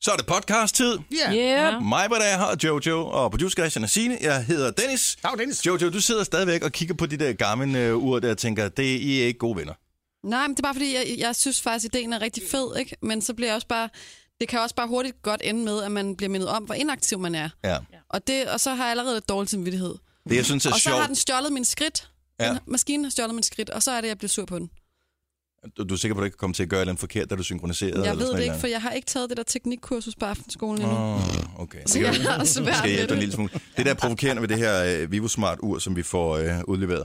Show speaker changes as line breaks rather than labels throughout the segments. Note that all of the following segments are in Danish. Så er det podcast-tid.
Ja.
Yeah.
Mig, hvad der er her, og Jojo, og producer er Signe. Jeg hedder Dennis.
Dag, Dennis.
Jojo, du sidder stadigvæk og kigger på de der gamle ur, der og tænker, det er I er ikke gode venner.
Nej, men det er bare fordi, jeg, jeg synes faktisk, at ideen er rigtig fed, ikke? Men så bliver jeg også bare... Det kan også bare hurtigt godt ende med, at man bliver mindet om, hvor inaktiv man er.
Ja.
Og, det, og så har jeg allerede lidt dårlig samvittighed.
Det, jeg synes er
Og så har den
sjovt.
stjålet min skridt.
Ja.
Den, maskinen har stjålet min skridt, og så er det, jeg bliver sur på den.
Du, du er sikker på, at du ikke kommer til at gøre noget forkert, da du synkroniserede?
Jeg
eller
ved
sådan
det
et
ikke, for jeg har ikke taget det der teknikkursus på aftenskolen endnu.
Åh, okay.
Så jeg har svært
skal hjælpe
ved
dig en
det.
lille smule. Det, der er provokerende ved det her øh, Vivo Smart ur, som vi får øh, udleveret,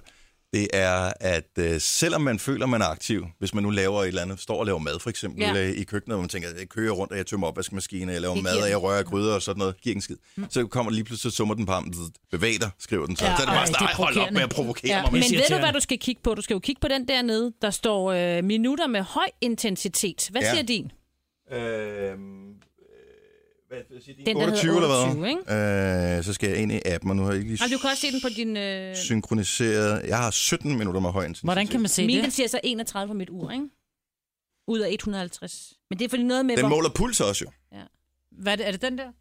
det er, at øh, selvom man føler, man er aktiv, hvis man nu laver et eller andet, står og laver mad for eksempel
Ja.
ja. øh, i køkkenet, hvor man tænker, jeg kører rundt, og jeg tømmer opvaskemaskinen, jeg laver
Det
mad,
giver
og jeg
den.
rører gryder og sådan noget, giver ikke en skid. Så kommer det lige pludselig, så summer den på ham, bevæg dig, skriver den så. Ja,
Ja,
så er det
ej,
bare sådan,
det er
"Ej, hold op med at provokere
Ja,
ja, mig.
men
Men...
siger
ved
til
du, hvad
ham-
du skal kigge på? Du skal jo kigge på den dernede, der står øh, minutter med høj intensitet. Hvad
Ja.
siger din?
Øhm.
Den, der
28
hedder
eller
28,
hvad? Øh, så skal jeg ind i appen, og nu har jeg ikke lige
Og du kan også se den på din... Øh,
synkroniseret. Jeg har 17 minutter med høj intensitet.
Hvordan kan man se
min, den
det?
siger så 31 på mit ur, ikke? Ud af 150. Men det er fordi noget med...
Den
hvor-
måler puls også jo.
Hvad er det, er det den der?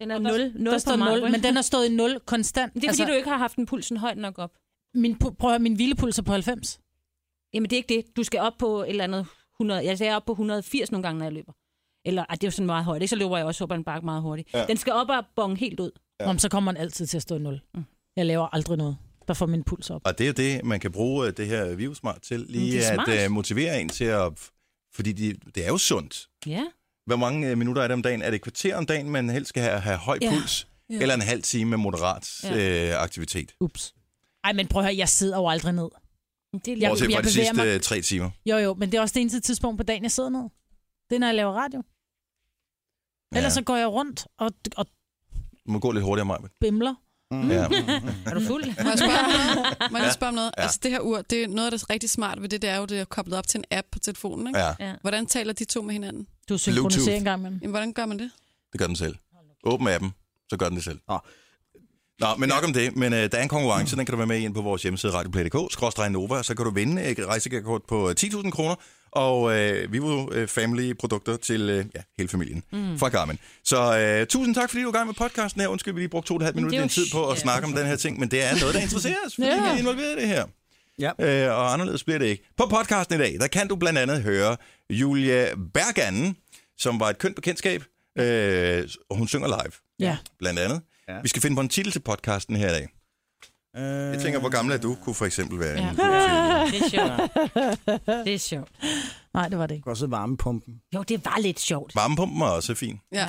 Den er 0, 0
der står 0, men den har stået i 0 konstant.
Det er altså... fordi, du ikke har haft den pulsen højt nok op.
min, pu- prøv at høre, min hvilepuls er på 90.
Jamen, det er ikke det. Du skal op på et eller andet 100... Jeg er op på 180 nogle gange, når jeg løber. Eller, ej, det er jo sådan meget højt, ikke? Så løber jeg også op ad en bakke meget hurtigt. Ja. Den skal op og bonge helt ud.
Ja. Om, så kommer den altid til at stå i 0.
Mm.
Jeg laver aldrig noget, der får min puls op.
Og det er jo det, man kan bruge øh, det her virusmart til,
Mm, det
lige
er
at
smart.
uh, motivere en til at... Fordi de, det er jo sundt.
Ja.
Hvor mange uh, minutter er det om dagen? Er det et kvarter om dagen, man helst skal have, have høj
Ja.
ja. puls? Ja. Eller en halv time med moderat ja. øh, aktivitet?
Ups. Ej, men prøv at høre, jeg sidder jo aldrig ned.
Det
Jeg-
er lidt...
Bortset fra de
bevæger
sidste
mig.
mig. tre timer.
Jo, jo, men det er også det eneste tidspunkt på dagen, jeg sidder ned. Det er, når jeg laver radio. Ja. Ellers så går jeg rundt og, og
Du må gå lidt hurtigere, Maja.
bimler.
Mm. Ja.
Er du fuld?
Må jeg spørge om noget? Må jeg lige spørge om noget?
Ja.
Altså, det her ur, det er noget, der er rigtig smart ved det, det er jo, det er koblet op til en app på telefonen, ikke?
ja,
ja.
Hvordan taler de to med hinanden?
Du synkroniserer
Bluetooth.
en gang med dem.
Jamen, hvordan gør man det?
det gør den selv. Åbn appen, så gør den det selv.
Nå.
Nå, men nok om det. Men øh, der er en konkurrence, den kan du være med i ind på vores hjemmeside radioplay.dk, skråstrej Nova, så kan du vinde et rejsekort på øh, 10.000 kroner og øh, Vivo øh, Family produkter til øh, ja, hele familien mm. fra Garmin. Så øh, tusind tak, fordi du er i gang med podcasten her. Undskyld, vi lige brugte to og et halvt
Men
minutter af
det er
din
jo
tid på at
shit.
snakke om den her ting, men det er noget, der interesserer os, fordi
Ja.
vi er involveret i det her.
Ja.
Øh, og anderledes bliver det ikke. På podcasten i dag, der kan du blandt andet høre Julia Berganden, som var et kønt bekendtskab. Øh, og hun synger live,
Ja.
blandt andet. Ja.
Ja.
Vi skal finde på en titel til podcasten her i dag.
Øh,
Jeg tænker, hvor gammel er du, kunne for eksempel være ja.
Ja.
en god titel.
Det er sjovt. Det er sjovt.
Nej, det var det ikke.
Også varmepumpen.
Jo, det var lidt sjovt.
Varmepumpen er også fin.
Ja.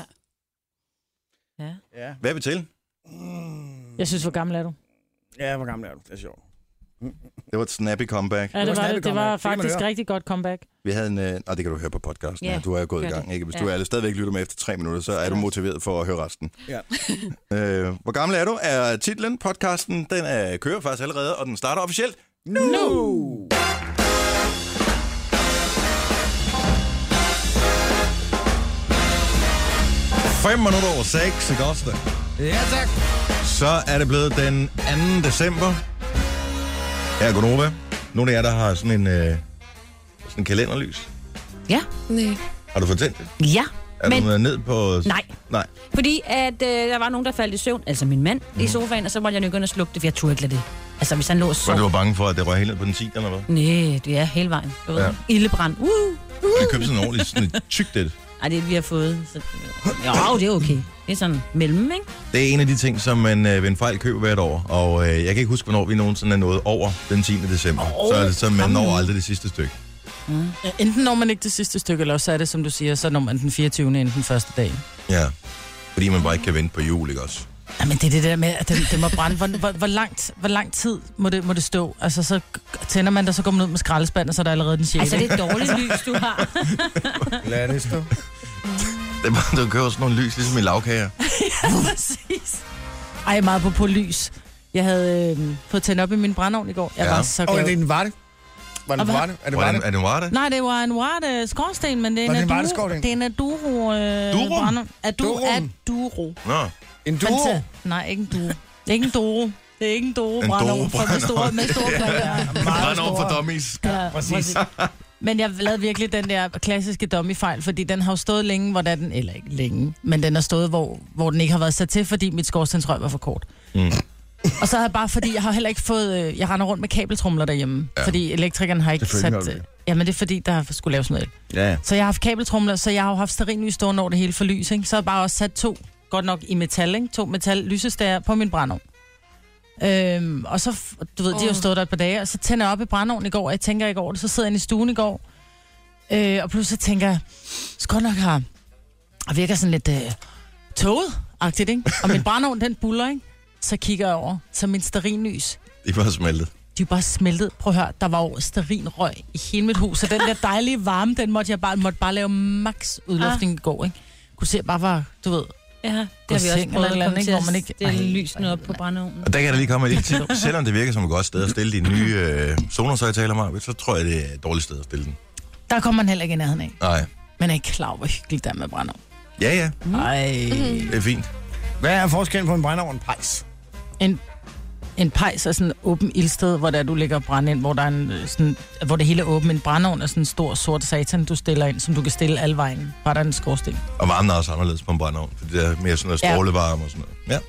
Ja.
Ja.
Hvad er vi til?
Mm.
Jeg synes, hvor gammel er du?
ja, hvor gammel er du? Det er sjovt.
Det var et snappy comeback.
Ja,
var
det var,
snart
det,
et
det
comeback.
var
Det kan man
faktisk
høre.
rigtig godt comeback.
Vi havde en... Øh, nej, det kan du høre på podcasten.
Ja,
Ja, du er jo gået i
gør
gang, ikke? Hvis
Ja.
du er stadigvæk lytter med efter tre minutter, så er du motiveret for at høre resten.
Ja.
øh, hvor gammel er du? Er titlen podcasten, den er, kører faktisk allerede, og den starter officielt
Nu! nu!
Fem minutter over 6, ikke også det?
Ja, tak.
Så er det blevet den 2. december. Her er Gunova. Nogle af jer, der har sådan en, øh, sådan en kalenderlys.
Ja.
Nej.
Har du fortændt det?
Ja.
Er Men...
Men-
du nået ned på...
Nej.
Nej.
Fordi at øh, der var nogen, der faldt i søvn, altså min mand, mm. i sofaen, og så måtte jeg jo gå ind og slukke det, for jeg turde ikke lade det. Altså, hvis han lå og
Så
sov.
du var bange for, at det røg helt ned på den 10, eller hvad?
Nej, det er hele vejen. Du ved,
Ja.
ja. Ildebrand. Uh,
Vi
uh.
købte sådan en ordentlig sådan et tykt det.
Ej, det er, vi har fået. Så... Jo, det er okay. Det er sådan mellem, ikke?
Det er en af de ting, som man øh, ved en fejl køber hvert år. Og øh, jeg kan ikke huske, hvornår vi nogensinde er nået over den 10. december. Oh, så er det sådan, man når aldrig det sidste stykke.
Mm.
Ja, enten når man ikke det sidste stykke, eller så er det, som du siger, så når man den 24. inden den første dag.
Ja. Fordi man bare ikke kan vente på jul, ikke også?
Jamen, det er det der med, at den, den må brænde. Hvor, hvor, hvor, langt, hvor lang tid må det, må det stå? Altså, så tænder man det, så går man ud med skraldespand, og så er der allerede den 6.
Altså, det er dårligt lys, du har.
Lad det stå.
Det er bare, du køber sådan nogle lys, ligesom i lavkager.
Præcis. Ej, meget på på lys. Jeg havde øh, fået tændt op i min brændeovn i går. Jeg
Ja.
ja. var så
Og
glad.
er det en varte? Var det
Og
en
hvad?
varte? Er det
Hvordan,
varte?
er det var det?
Nej, det var en Ward uh, skorsten, men det er
Nå,
en
det er en
Aduro.
Ward-skorsten.
Det er en Aduro. Øh,
Durum?
brændeovn. Adu,
Durum.
Aduro.
Nå.
En duo?
Fanta- Nej, ikke en Duro. Det er ikke en Doro. Det er ikke en Doro
En
brændeovn.
Doro
for med store,
brændeovn.
med store klokker.
Brænd over for dummies.
Ja,
Præcis.
Men jeg lavede virkelig den der klassiske dummy-fejl, fordi den har jo stået længe, hvor der den, eller ikke længe, men den har stået, hvor, hvor den ikke har været sat til, fordi mit skorstensrøg var for kort.
Mm.
Og så har jeg bare, fordi jeg har heller ikke fået, øh, jeg render rundt med kabeltrumler derhjemme, ja. fordi elektrikeren har ikke sat...
Selvfølgelig har du
Øh, jamen det er fordi, der skulle laves noget el.
Ja, ja.
Så jeg har haft kabeltrumler, så jeg har jo haft sterinlys stående over det hele for lys, ikke? Så har jeg bare også sat to, godt nok i metal, ikke? To metal lysestager på min brandovn. Øhm, og så, f- du ved, oh. de har jo
Åh.
stået der et par dage, og så tænder jeg op i brandovnen i går, og jeg tænker ikke over det, så sidder jeg inde i stuen i går, øh, og pludselig så tænker jeg, så godt nok har, og virker sådan lidt øh, toget-agtigt, ikke? Og min brandovn, den buller, ikke? Så kigger jeg over, så min sterinlys,
Det var smeltet.
de er bare smeltet. Prøv at høre, der var jo sterinrøg i hele mit hus, så den der dejlige varme, den måtte jeg bare, måtte bare lave max udluftning ah. i går, ikke? Kunne se, jeg bare var, du ved,
Ja, det
Gå
har vi også
seng eller et
prøvet
eller
at
andet, ikke?
komme til at
Hvor man ikke-
stille
Ej,
lysene op på brændeovnen.
Og der kan jeg da lige komme med et lille tip. Selvom det virker som et godt sted at stille de nye øh, Sonos-højtaler, Maja, så tror jeg, det er et dårligt sted at stille den.
der kommer man heller ikke i nærheden af.
Nej.
Man er ikke klar over, hvor hyggeligt der med brænder.
Ja, ja,
Nej.
det er fint.
Hvad er forskellen på en brændeovn og en pejs?
En, en pejs er sådan et åbent ildsted, hvor der du lægger brænde ind, hvor, der er en, øh, sådan, hvor det hele er åbent. En brændeovn er sådan en stor sort satan, du stiller ind, som du kan stille alle vejen. Bare der er en skorsten.
Og varmen er også anderledes på en brændeovn, for det er mere sådan noget
Ja.
strålevarme og sådan noget. Ja.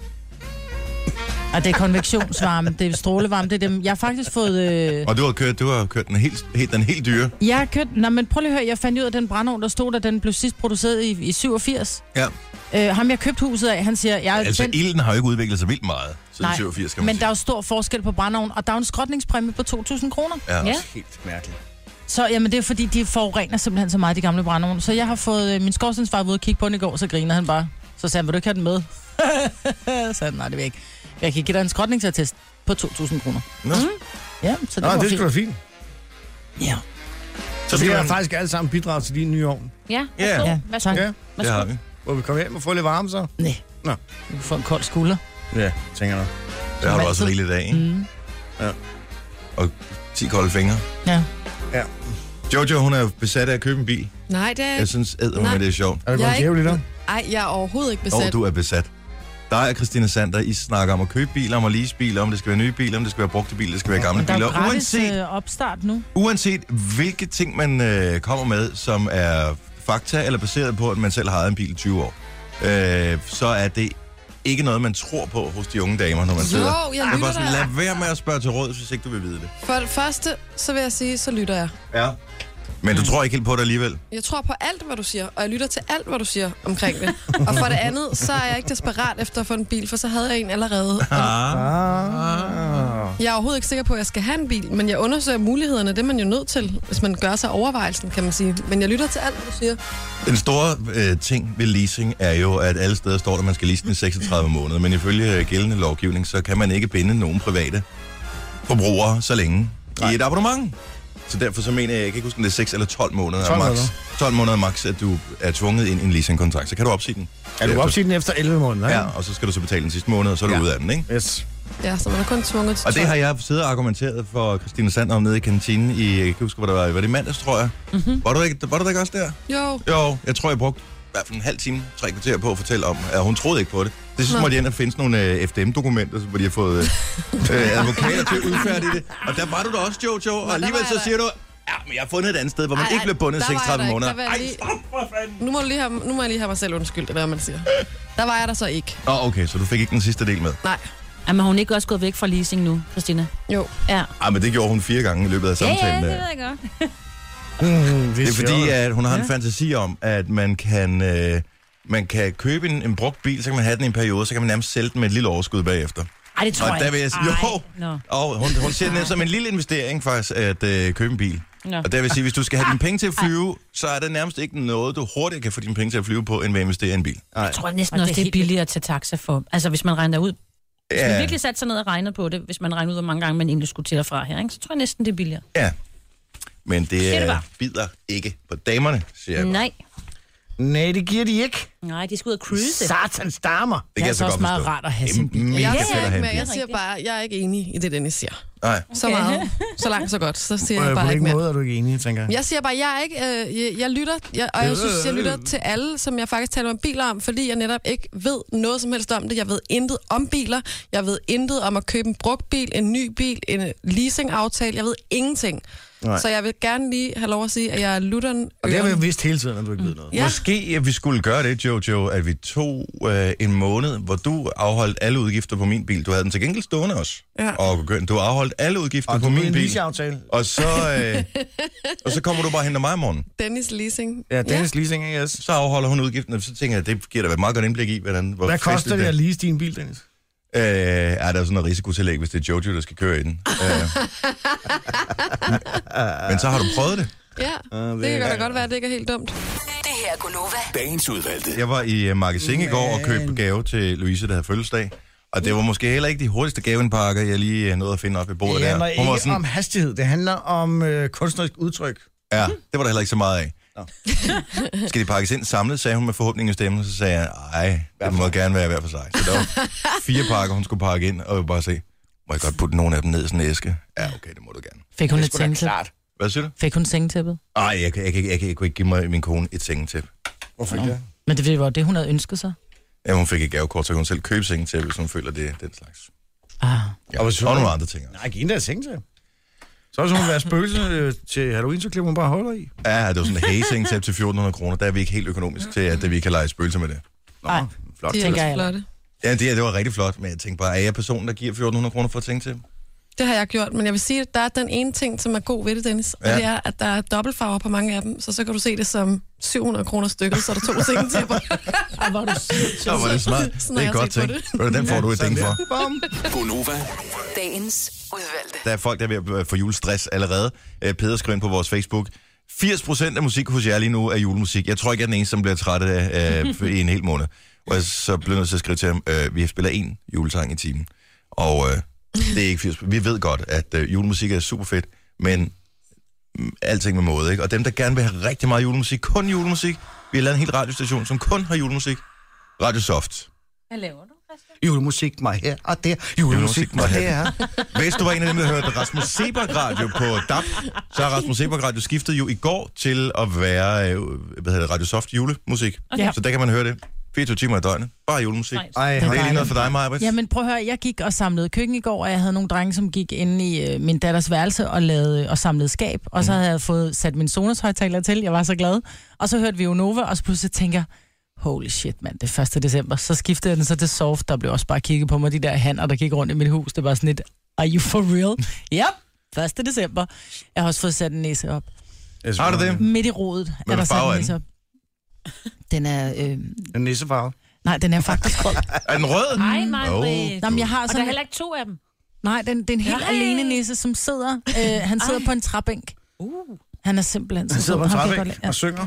Og det er konvektionsvarme, det er strålevarme, det er dem. Jeg har faktisk fået... Øh,
Og du har kørt, du har kørt den, helt, helt, den helt dyre.
Jeg har kørt... Nå, men prøv lige at høre, jeg fandt ud af den brandovn, der stod, da den blev sidst produceret i, i 87.
Ja.
Øh, ham, jeg købte huset af, han siger... Jeg,
Altså,
den,
ilden har jo ikke udviklet sig vildt meget siden
Nej,
87, kan man
men der
sige.
er jo stor forskel på brandovn, og der er jo en skrotningspræmie på 2.000 kroner.
Ja.
Ja.
Helt mærkeligt.
Så jamen, det er fordi, de forurener simpelthen så meget, de gamle brandovne. Så jeg har fået... Øh, min skorstensfar var ude og kigge på den i går, så griner han bare. Så sagde han, vil du ikke have den med? så sagde han, nej, det vil jeg ikke. Jeg kan give dig en skrotningsattest på 2.000 kroner. Mhm.
Nå,
Ja, så det,
Nå,
var
det
fint.
skulle da fint.
Ja,
så
Vi
skal
har
man...
faktisk alle sammen bidraget til din nye ovn.
Ja,
Ja.
værsgo.
ja.
Værsgo.
Tak.
Ja.
Det
Værsgo.
har vi.
Må vi komme hjem og få lidt varme så?
Nej.
Nå.
Du får en kold skulder.
Ja, tænker jeg. nok.
Det har du
Som
også
altid.
rigeligt af, ikke?
Mm.
10 kolde fingre.
Ja.
Ja.
Jojo, hun er besat af at købe en bil.
Nej,
Øh,
det er
Jeg synes, æder hun,
Nej.
at det er sjovt.
Er det
Jeg er
godt
ikke-
djævligt, der?
Ej, jeg er overhovedet ikke
Når
besat.
du er besat. Dig og Christina Sander, I snakker om at købe biler, om at lease biler, om det skal være nye biler, om det skal være brugte biler, det skal være gamle
Men der er jo
biler.
gratis
Uanset,
øh, opstart nu.
uanset hvilke ting, man øh, kommer med, som er fakta eller baseret på, at man selv har ejet en bil i 20 år, øh, så er det ikke noget, man tror på hos de unge damer, når man
Jo,
sidder.
jeg
Det er
lytter
bare sådan,
dig.
lad være med at spørge til råd, hvis ikke du vil vide det.
For det første, så vil jeg sige, så lytter jeg.
Ja. Men du tror ikke helt på det alligevel.
Jeg tror på alt, hvad du siger, og jeg lytter til alt, hvad du siger omkring det. Og for det andet, så er jeg ikke desperat efter at få en bil, for så havde jeg en allerede.
Ah.
Ah.
Jeg er overhovedet ikke sikker på, at jeg skal have en bil, men jeg undersøger mulighederne. Det er man jo nødt til, hvis man gør sig overvejelsen, kan man sige. Men jeg lytter til alt, hvad du siger.
Den store øh, ting ved leasing er jo, at alle steder står, at man skal lease den i 36 måneder, men ifølge øh, gældende lovgivning, så kan man ikke binde nogen private forbrugere så længe Nej. i et abonnement. Så derfor så mener jeg, jeg kan ikke huske, om det er 6 eller 12 måneder,
12
max.
måneder.
12 måneder max, at du er tvunget ind i en leasingkontrakt. Så kan du opsige den.
Er du
Efter-
opsigt den efter 11 måneder, ikke?
Ja, og så skal du så betale den sidste måned, og så er du
Ja.
ja. ude af den, ikke?
Yes.
Ja, så man er kun tvunget til
Og det
tolv.
har jeg siddet og argumenteret for Christine Sander om nede i kantinen i, jeg kan ikke huske, hvor det var, var det i mandags, tror jeg.
Mhm.
Mm-hmm. Var, du ikke, var du da ikke også der?
Jo,
Jo, jeg tror, jeg brugte i hvert fald en halv time, tre kvarter på at fortælle om, at hun troede ikke på det. Det synes
Nå.
jeg, at ind og finde sådan nogle øh, FDM-dokumenter, hvor de har fået øh, øh, advokater til at udfærdige det. Og der var du da også, Jojo, og
der
alligevel
var jeg
så
da.
siger du, ja, men jeg har fundet et andet sted, hvor man
Ej,
ej, ikke
ej,
blev bundet
der var jeg
36
da ikke.
måneder.
Der var jeg
Ej,
lige-
stop for fanden!
nu må, du lige have, nu må jeg lige have mig selv undskyldt, eller hvad man siger. Der var jeg der så ikke.
Nå, okay, så du fik ikke den sidste del med.
Nej,
Jamen, har hun ikke også gået væk fra leasing nu, Christina?
jo.
Ja.
Ej, men det gjorde hun fire gange i løbet af samtalen. øh.
jeg godt.
Mm, det
Det er fordi,
sjovt.
at hun har en fantasi om, at man kan, øh, man kan købe en, en brugt bil, så kan man have den i en periode, så kan man nærmest sælge den med et lille overskud bagefter.
Ej, det tror
Og
jeg
der
ikke.
vil jeg sige,
Ej,
jo,
Nå.
og hun, hun ser det net som en lille investering faktisk, at øh, købe en bil.
Nå.
Og der vil jeg sige, hvis du skal have dine penge til at flyve, så er det nærmest ikke noget, du hurtigt kan få dine penge til at flyve på, end ved at investere i en bil.
Jeg tror næsten
Ej, det er
også, det er
helt-
billigere at tage taxa for. Altså, hvis man regner ud. Hvis man
Ja,
virkelig satte sig ned og regnede på det, hvis man regnede ud, hvor mange gange man egentlig skulle til og fra her, ikke? så tror jeg næsten, det er billigere.
ja. Men
Siger
det
du
øh,
bare.
bider ikke på damerne, siger jeg. bare.
Nej.
Mm.
Nej, det giver de ikke.
Nej, de skal ud og cruise.
Satans damer.
Det kan jeg så
altså
godt
også meget
forstå.
rart at have
Det er
sin bil.
mega
Jeg
fedt
siger
at
ikke
have
mere.
en bil.
Jeg siger bare, jeg er ikke enig i det, Dennis siger.
Nej.
Så
Okay.
meget. Så langt, så godt. Så siger
Øh,
jeg
På
bare ikke
hvilken
mere.
måde er du ikke enig, tænker jeg?
Jeg siger bare, jeg er ikke, øh, jeg, jeg lytter, jeg, og jeg synes, jeg lytter til alle, som jeg faktisk taler om biler om, fordi jeg netop ikke ved noget som helst om det. Jeg ved intet om biler, jeg ved intet om at købe en brugt bil, en ny bil, en øh, leasingaftale, jeg ved ingenting.
Nej.
Så jeg vil gerne lige have lov at sige, at jeg er lutteren.
Og det har vi jo
øren.
vidst hele tiden, at du ikke ved noget.
Ja.
Måske at vi skulle gøre det, Jojo, at vi tog øh, en måned, hvor du afholdt alle udgifter på min bil. Du havde den til gengæld stående også.
Ja.
Og du afholdt alle udgifter
Og
på
du min
min
en
bil.
leaseaftale.
Og så, øh, og så kommer du bare hen til mig i morgen.
Dennis Leasing.
Ja, Dennis leasing, ikke? yes.
Så afholder hun udgiften, og så tænker jeg, det giver da et meget godt indblik i, hvordan, hvor
Hvad
festligt
koster det at lease din bil, Dennis?
Øh, er der jo sådan noget risikotillæg, hvis det er Jojo, der skal køre i den? Øh. Men så har du prøvet det.
Ja,
Ah,
det kan
det-
godt, godt være, at det ikke er helt dumt.
Det her er Gunova.
Dagens udvalgte.
Jeg var i uh, Magasin i går og købte gave til Louise, der havde fødselsdag. Og det var måske heller ikke de hurtigste gavenpakker, jeg lige øh, nåede at finde op i bordet
Det handler
der. Hun var
ikke
sådan,
om hastighed, det handler om øh, kunstnerisk udtryk.
ja, det var der heller ikke så meget af. Skal de pakkes ind samlet, sagde hun med forhåbning i stemmen, så sagde jeg, nej, det må gerne være hver for sig. Så der var fire pakker, hun skulle pakke ind, og jeg bare se, må jeg godt putte nogle af dem ned i sådan en æske? Ja, okay, det må du gerne.
Fik hun et sengetæppe?
klart.
Hvad siger du?
Fik hun sengetæppet?
Ej, jeg, kan- jeg, jeg, jeg, kan- jeg kunne ikke give mig min kone et sengetæppe.
Hvorfor ikke det?
Men det var jo det, hun havde ønsket sig.
Ja, hun fik et gavekort, så kan hun selv købe sengetæppe, hvis hun føler, det er den slags.
Ah.
Ja. Og, og nogle andre ting. også.
Nej, ikke en, der er seng til. Så hvis hun vil være spøgelse øh, til Halloween, så klipper hun bare huller i.
Ja, det var sådan en hagesengtæppe til 1400 kroner. Der er vi ikke helt økonomisk til, at vi kan lege spøgelser med det.
Nej,
Flot.
De er
Tænker
også
jeg.
flotte.
Ja, det, her, det var rigtig flot, men jeg tænkte bare, er jeg personen, der giver 1400 kroner for et sengtæppe?
Det har jeg gjort, men jeg vil sige, at der er den ene ting, som er god ved det, Dennis, og
Ja.
det er, at der er dobbeltfarver på mange af dem, så så kan du se det som 700 kroner stykket, så er der to sengetæpper.
Ej, hvor er du sindssyg.
Så var det smart.
Sådan har
det er
jeg
godt
set
ting.
på
Ved du, Den får du et ding for.
Gonova.
Dagens udvalgte.
Der er folk, der er ved at øh, få julestress allerede. Øh, Peder skriver ind på vores Facebook. 80% af musik hos jer lige nu er julemusik. Jeg tror ikke, jeg er den eneste, som bliver træt af øh, i en hel måned. Og jeg så blev jeg nødt til at skrive til ham, øh, vi spiller én julesang i timen. Og øh, det er ikke 80%. Vi ved godt, at øh, julemusik er super fedt, men mm, alting med måde, ikke? Og dem, der gerne vil have rigtig meget julemusik, kun julemusik. Vi har lavet en hel radiostation, som kun har julemusik. Radio Soft.
Hvad laver du?
Julemusik mig her og der. Julemusik mig her.
Hvis du var en af dem, der hørte Rasmus Sebak Radio på DAP, så har Rasmus Sebak Radio skiftet jo i går til at være øh, hvad hedder det, Radio Soft julemusik.
Okay.
Så der kan man høre det. 24 timer i døgnet. Bare julemusik.
Nej.
Ej,
Det er lige
dejligt.
noget for dig, Maja. Ja,
Jamen prøv at høre, jeg gik og samlede køkken i går, og jeg havde nogle drenge, som gik inde i øh, min datters værelse og, lavede, øh, og samlede skab. Og så havde jeg fået sat min Sonos højtaler til, jeg var så glad. Og så hørte vi jo Nova, og så pludselig tænker jeg, holy shit mand, det er 1. december. Så skiftede jeg den så til Soft, der blev også bare kigget på mig, de der hanner, der gik rundt i mit hus. Det var sådan lidt, are you for real? yep, 1. december. Jeg har også fået sat en næse op.
Har du det?
Midt i rodet
Hvad
er altså der
farve er
sat en
den?
næse op. Den er, øh,
En nissefarve.
nej, den er faktisk rød.
Er den rød?
Ej, nej,
Åh.
Nå, men jeg har
Og
sådan
der er heller ikke to af dem.
Nej, den, den er en helt
Nej.
alene nisse, som sidder. Øh, han sidder Ej. på en træbænk.
Uh.
Han er simpelthen så
Han sidder på
sød.
en
Ham kan jeg
træbænk og
godt
synger.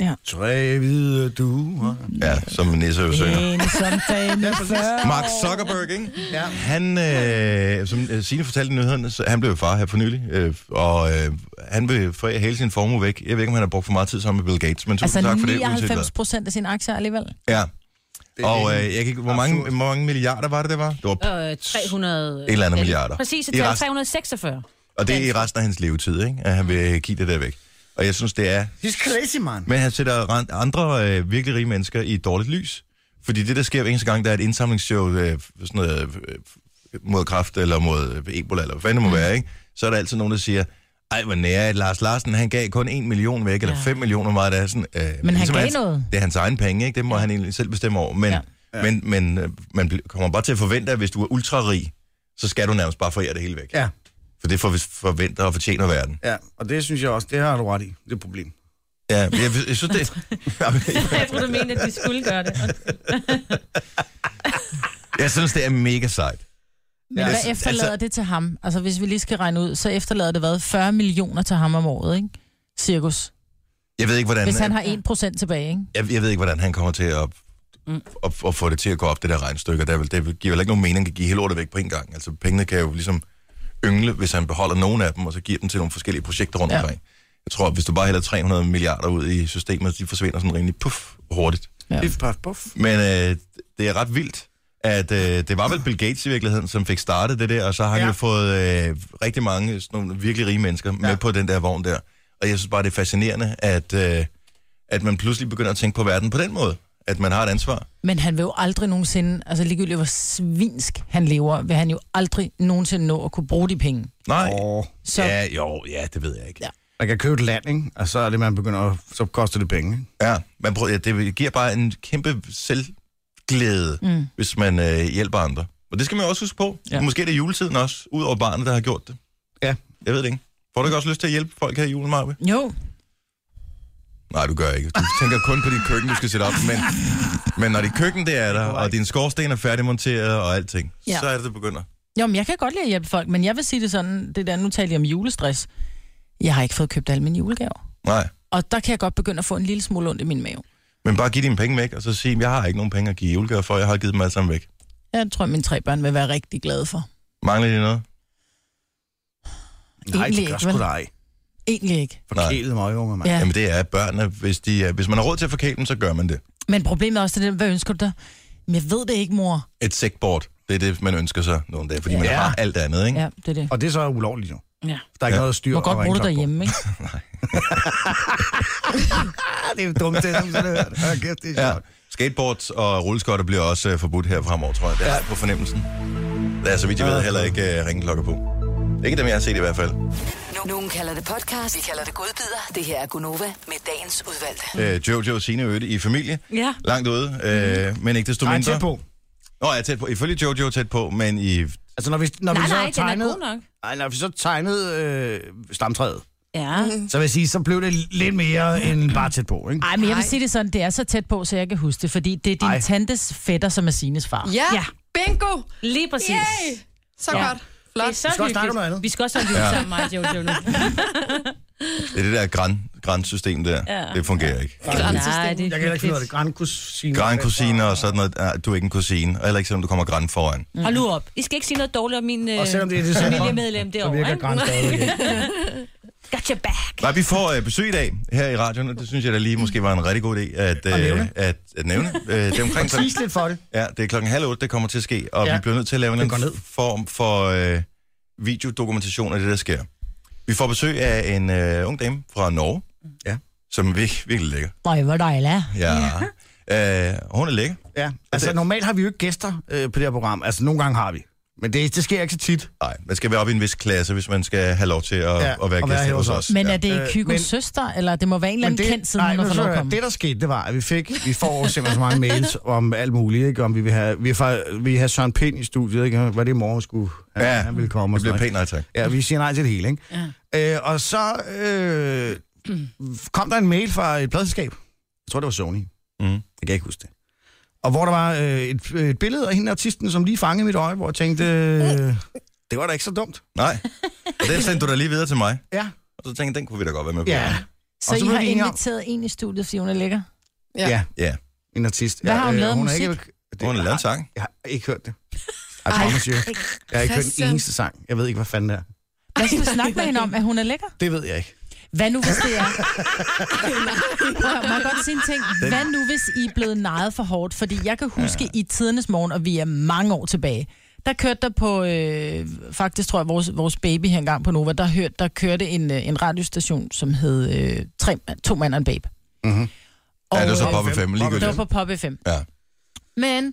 Ja.
Tre hvide duer.
Ja, som Nisse jo
lide.
synger.
Ja. Ensom dag med fyrre
Mark Zuckerberg, ikke?
Ja.
Han, øh, som øh, Signe fortalte i nyhederne, så han blev jo far her for nylig, øh, og øh, han vil forære hele sin formue væk. Jeg ved ikke, om han har brugt for meget tid sammen med Bill Gates, men tusind
Altså
altså, tak for det. uanset hvad.
99 procent af sine aktier alligevel.
Ja. Og øh, jeg kan ikke, hvor mange, hvor mange milliarder var det, det var? Det var
Øh, 300...
Et eller andet milliarder.
Præcis, et
I
tal.
resten.
346.
og det er i resten af hans levetid, ikke? at han vil øh, give det der væk. Og jeg synes, det er...
He's crazy, man.
Men han sætter ran- andre øh, virkelig rige mennesker i et dårligt lys. Fordi det, der sker hver eneste gang, der er et indsamlingsshow øh, sådan noget, øh, mod kræft eller mod øh, Ebola, eller hvad fanden det
Mm.
må være, ikke? så er der altid nogen, der siger, ej, hvor nære, at Lars Larsen, han gav kun 1 million væk, eller 5 millioner, meget det er sådan. Øh,
Men han gav
hans,
noget.
Det er hans egen penge, ikke? det må han egentlig selv bestemme over. Men,
Ja.
ja. men, men øh, man bl- kommer bare til at forvente, at hvis du er ultrarig, så skal du nærmest bare forære det hele væk.
Ja,
For det for, forventer og fortjener verden.
ja. Og det synes jeg også, det har du ret i. Det er et problem.
Ja, jeg, jeg, jeg synes, det...
Jeg tror, du mente, at de skulle gøre det.
jeg synes, det er mega sejt.
Men
Ja.
ja,
Altså-
hvad efterlader
altså-
det til ham? Altså hvis vi lige skal regne ud, så efterlader det hvad? 40 millioner til ham om året, ikke? Cirkus.
Jeg ved ikke, hvordan...
Hvis han har 1 procent tilbage, ikke?
jeg, jeg ved ikke, hvordan han kommer til at, mm. at, at få det til at gå op, det der regnstykke. Der, vil, det giver vel ikke nogen mening, at han kan give hele lortet væk på en gang. Altså, pengene kan jo ligesom yngle, hvis han beholder nogen af dem, og så giver dem til nogle forskellige projekter rundt ja.
Ja.
omkring. Jeg tror, at hvis du bare hælder 300 milliarder ud i systemet, de forsvinder sådan rimelig puff hurtigt.
Ja.
Piff, puff, puff.
Men øh, det er ret vildt, at øh, det var vel Bill Gates i virkeligheden, som fik startet det der, og så har han ja.
Ja.
jo fået øh, rigtig mange sådan nogle virkelig rige mennesker ja. med på den der vogn der. Og jeg synes bare, det er fascinerende, at, øh, at man pludselig begynder at tænke på verden på den måde. at man har et ansvar.
Men han vil jo aldrig nogensinde, altså ligegyldigt hvor svinsk han lever, vil han jo aldrig nogensinde nå at kunne bruge de penge.
Nej.
Åh,
Så ja.
Ja, jo, ja, det ved jeg ikke.
Ja.
man kan købe et land, ikke? Og så er det, man begynder at, så koster det penge, ikke?
Ja, man prøver, ja det giver bare en kæmpe selvglæde, mm. hvis man øh, hjælper andre. Og det skal man jo også huske på. Ja.
Ja.
Måske er det juletiden også, ud over barnet, der har gjort det.
Ja.
Jeg ved det ikke. Får du ikke også lyst til at hjælpe folk her i julen, Marve?
Jo,
Nej, du gør ikke. Du tænker kun på dit køkken, du skal sætte op. Men, men når dit køkken det er der, og din skorsten er færdigmonteret og alting, ja.
Ja.
så er det, det begynder.
jo men jeg kan godt lide at hjælpe folk, men jeg vil sige det sådan, det der, nu taler jeg om julestress. Jeg har ikke fået købt alle mine julegaver.
Nej.
Og der kan jeg godt begynde at få en lille smule ondt i min mave.
Men bare giv dine penge væk, og så sig, jeg har ikke nogen penge at give julegaver for, jeg har givet dem alle sammen væk.
Jeg tror, mine tre børn vil være rigtig glade for.
Mangler de noget?
Nej,
Egentlig
det gør
ikke,
sgu
vel?
da ej.
Egentlig ikke.
Forkælet møgunger, mand.
Ja.
Jamen det er børnene. Hvis, de, er- hvis man har råd til at forkæle dem, så gør man det.
Men problemet er også, det, der, hvad ønsker du dig? Men jeg ved det ikke, mor.
et sækbord. Det er det, man ønsker sig nogle dage, fordi ja. man
Ja.
har alt andet, ikke? Ja.
Ja, det er det.
Og det er så ulovligt jo.
Ja.
Der er ikke
Ja.
ja. noget styr
Hvor godt
og
bruger du
rengøring på.
derhjemme, ikke?
Ah, det er dumt, det er sådan, det er. Hold kæft, det er
Ja.
sjovt.
Skateboards og rulleskotter bliver også øh, forbudt her fremover, tror jeg. Det er ja. på fornemmelsen. Der er, så vidt jeg ved, heller ikke uh, ringeklokker på. Ikke dem, jeg har set i hvert fald.
No- Nogen kalder det podcast, vi kalder det godbider. Det her er Gunova med dagens udvalgte.
Uh, Jojo og Signe Øde i familie.
Ja. Mm.
Langt ude, uh, men ikke desto
Nej,
mindre.
tæt på.
Nå, ja, tæt på. Ifølge Jojo tæt på, men i...
Altså, når vi, når
Nej,
vi så
nej, den er
tegnede,
god nok.
nej, når vi så tegnede øh, stamtræet,
Ja.
så vil jeg sige, så blev det lidt mere end bare tæt på, ikke?
Ej, men jeg vil
Ej.
sige det sådan, det er så tæt på, så jeg kan huske det, fordi det er din
Ej.
Ej. tantes fætter, som er Sines far.
Ja,
Ja.
bingo!
Lige præcis.
Yay! Så
Ja.
godt.
Det
Flot.
er
Vi
så
skal også snakke om noget
hyggeligt.
andet.
Vi skal også have hyggeligt sammen, mig og Jojo nu.
Det er det der gran, gransystem der.
Ja.
Det fungerer ikke.
Nej, det er
Jeg kan heller ikke finde ud af det.
hyggeligt.
Grandkusine.
Grankusiner og sådan noget. ah, Du er ikke en kusine, og heller ikke selvom du kommer gran foran.
Hold nu op. I skal ikke sige noget dårligt om min øh,
Og selvom det er december,
familiemedlem
så
derovre.
virker gran stadigvæk ikke.
Got your back.
Nej, vi får øh, besøg i dag her i radioen, og det synes jeg da lige måske var en rigtig god idé at,
At
øh,
nævne.
at, at nævne. Øh, det er omkring
Tis lidt for det.
ja, det er klokken halv otte, det kommer til at ske, og ja.
Ja.
vi bliver nødt til at lave en
Det går
anden
ned.
form for øh, videodokumentation af det, der sker. Vi får besøg af en øh, ung dame fra Norge,
Ja.
som er vir- virkelig lækker.
Nej, hvor dejligt.
Ja. ja. Øh, hun er lækker.
Ja, altså normalt har vi jo ikke gæster øh, på det her program. Altså, nogle gange har vi. Men det, det sker ikke så tit.
Nej, man skal være oppe i en vis klasse, hvis man skal have lov til at, ja,
Ja,
at være
og
gæst
være her
hos
hos
os.
Men er det
Øh,
Kykos
men-
søster, eller det må være en eller
Men
anden kendt, siden hun
nu
har fået
skal
lov
du
at
høre,
komme?
det, der skete, det var, at vi fik, vi får simpelthen så mange mails om alt muligt, ikke? Om vi vil have, vi får, vi vil have Søren Pind i studiet, ikke? Var det i morgen, skulle han,
Ja,
han ville komme? og
Det bliver
sådan
pænt, nej tak.
noget. Ja, vi siger nej til det hele, ikke? Ja. Øh, og så øh, kom der en mail fra et pladselskab. Jeg tror, det var Sony.
Mm.
Jeg kan ikke huske det. Og hvor der var øh, et, et billede af hende artisten, som lige fangede mit øje, hvor jeg tænkte, øh, det var da ikke så dumt.
Nej, og den sendte du da lige videre til mig.
Ja.
Og så tænkte jeg, den kunne vi da godt være med på.
Ja,
Så
Og så
I
blev
har
altså, vi enige om-
inviteret en i studiet, fordi hun er lækker?
Ja.
ja.
Ja.
En artist.
Hvad
ja,
har hun
øh,
lavet
hun
musik?
Er ikke, Altså, det,
Hun har lavet en sang.
Jeg har ikke hørt det. I promise you. Jeg har ikke hørt en
Christian.
eneste sang. Jeg ved ikke, hvad fanden det er.
Hvad skal vi snakke med hende om, at hun er lækker?
Det ved jeg ikke.
Hvad nu, hvis det er? Prøv, at høre, må jeg godt sige en ting? Hvad nu, hvis I er blevet nejet for hårdt? Fordi jeg kan huske i tidernes morgen, og vi er mange år tilbage, der kørte der på, øh, faktisk tror jeg, vores, vores baby her engang på Nova, der, hørte, der kørte en, øh, en radiostation, som hed øh, tre, To Mand og en Babe.
Mhm.
Ja, det var så
øh,
Poppe 5, lige
Det var på Pop 5.
Ja.
Men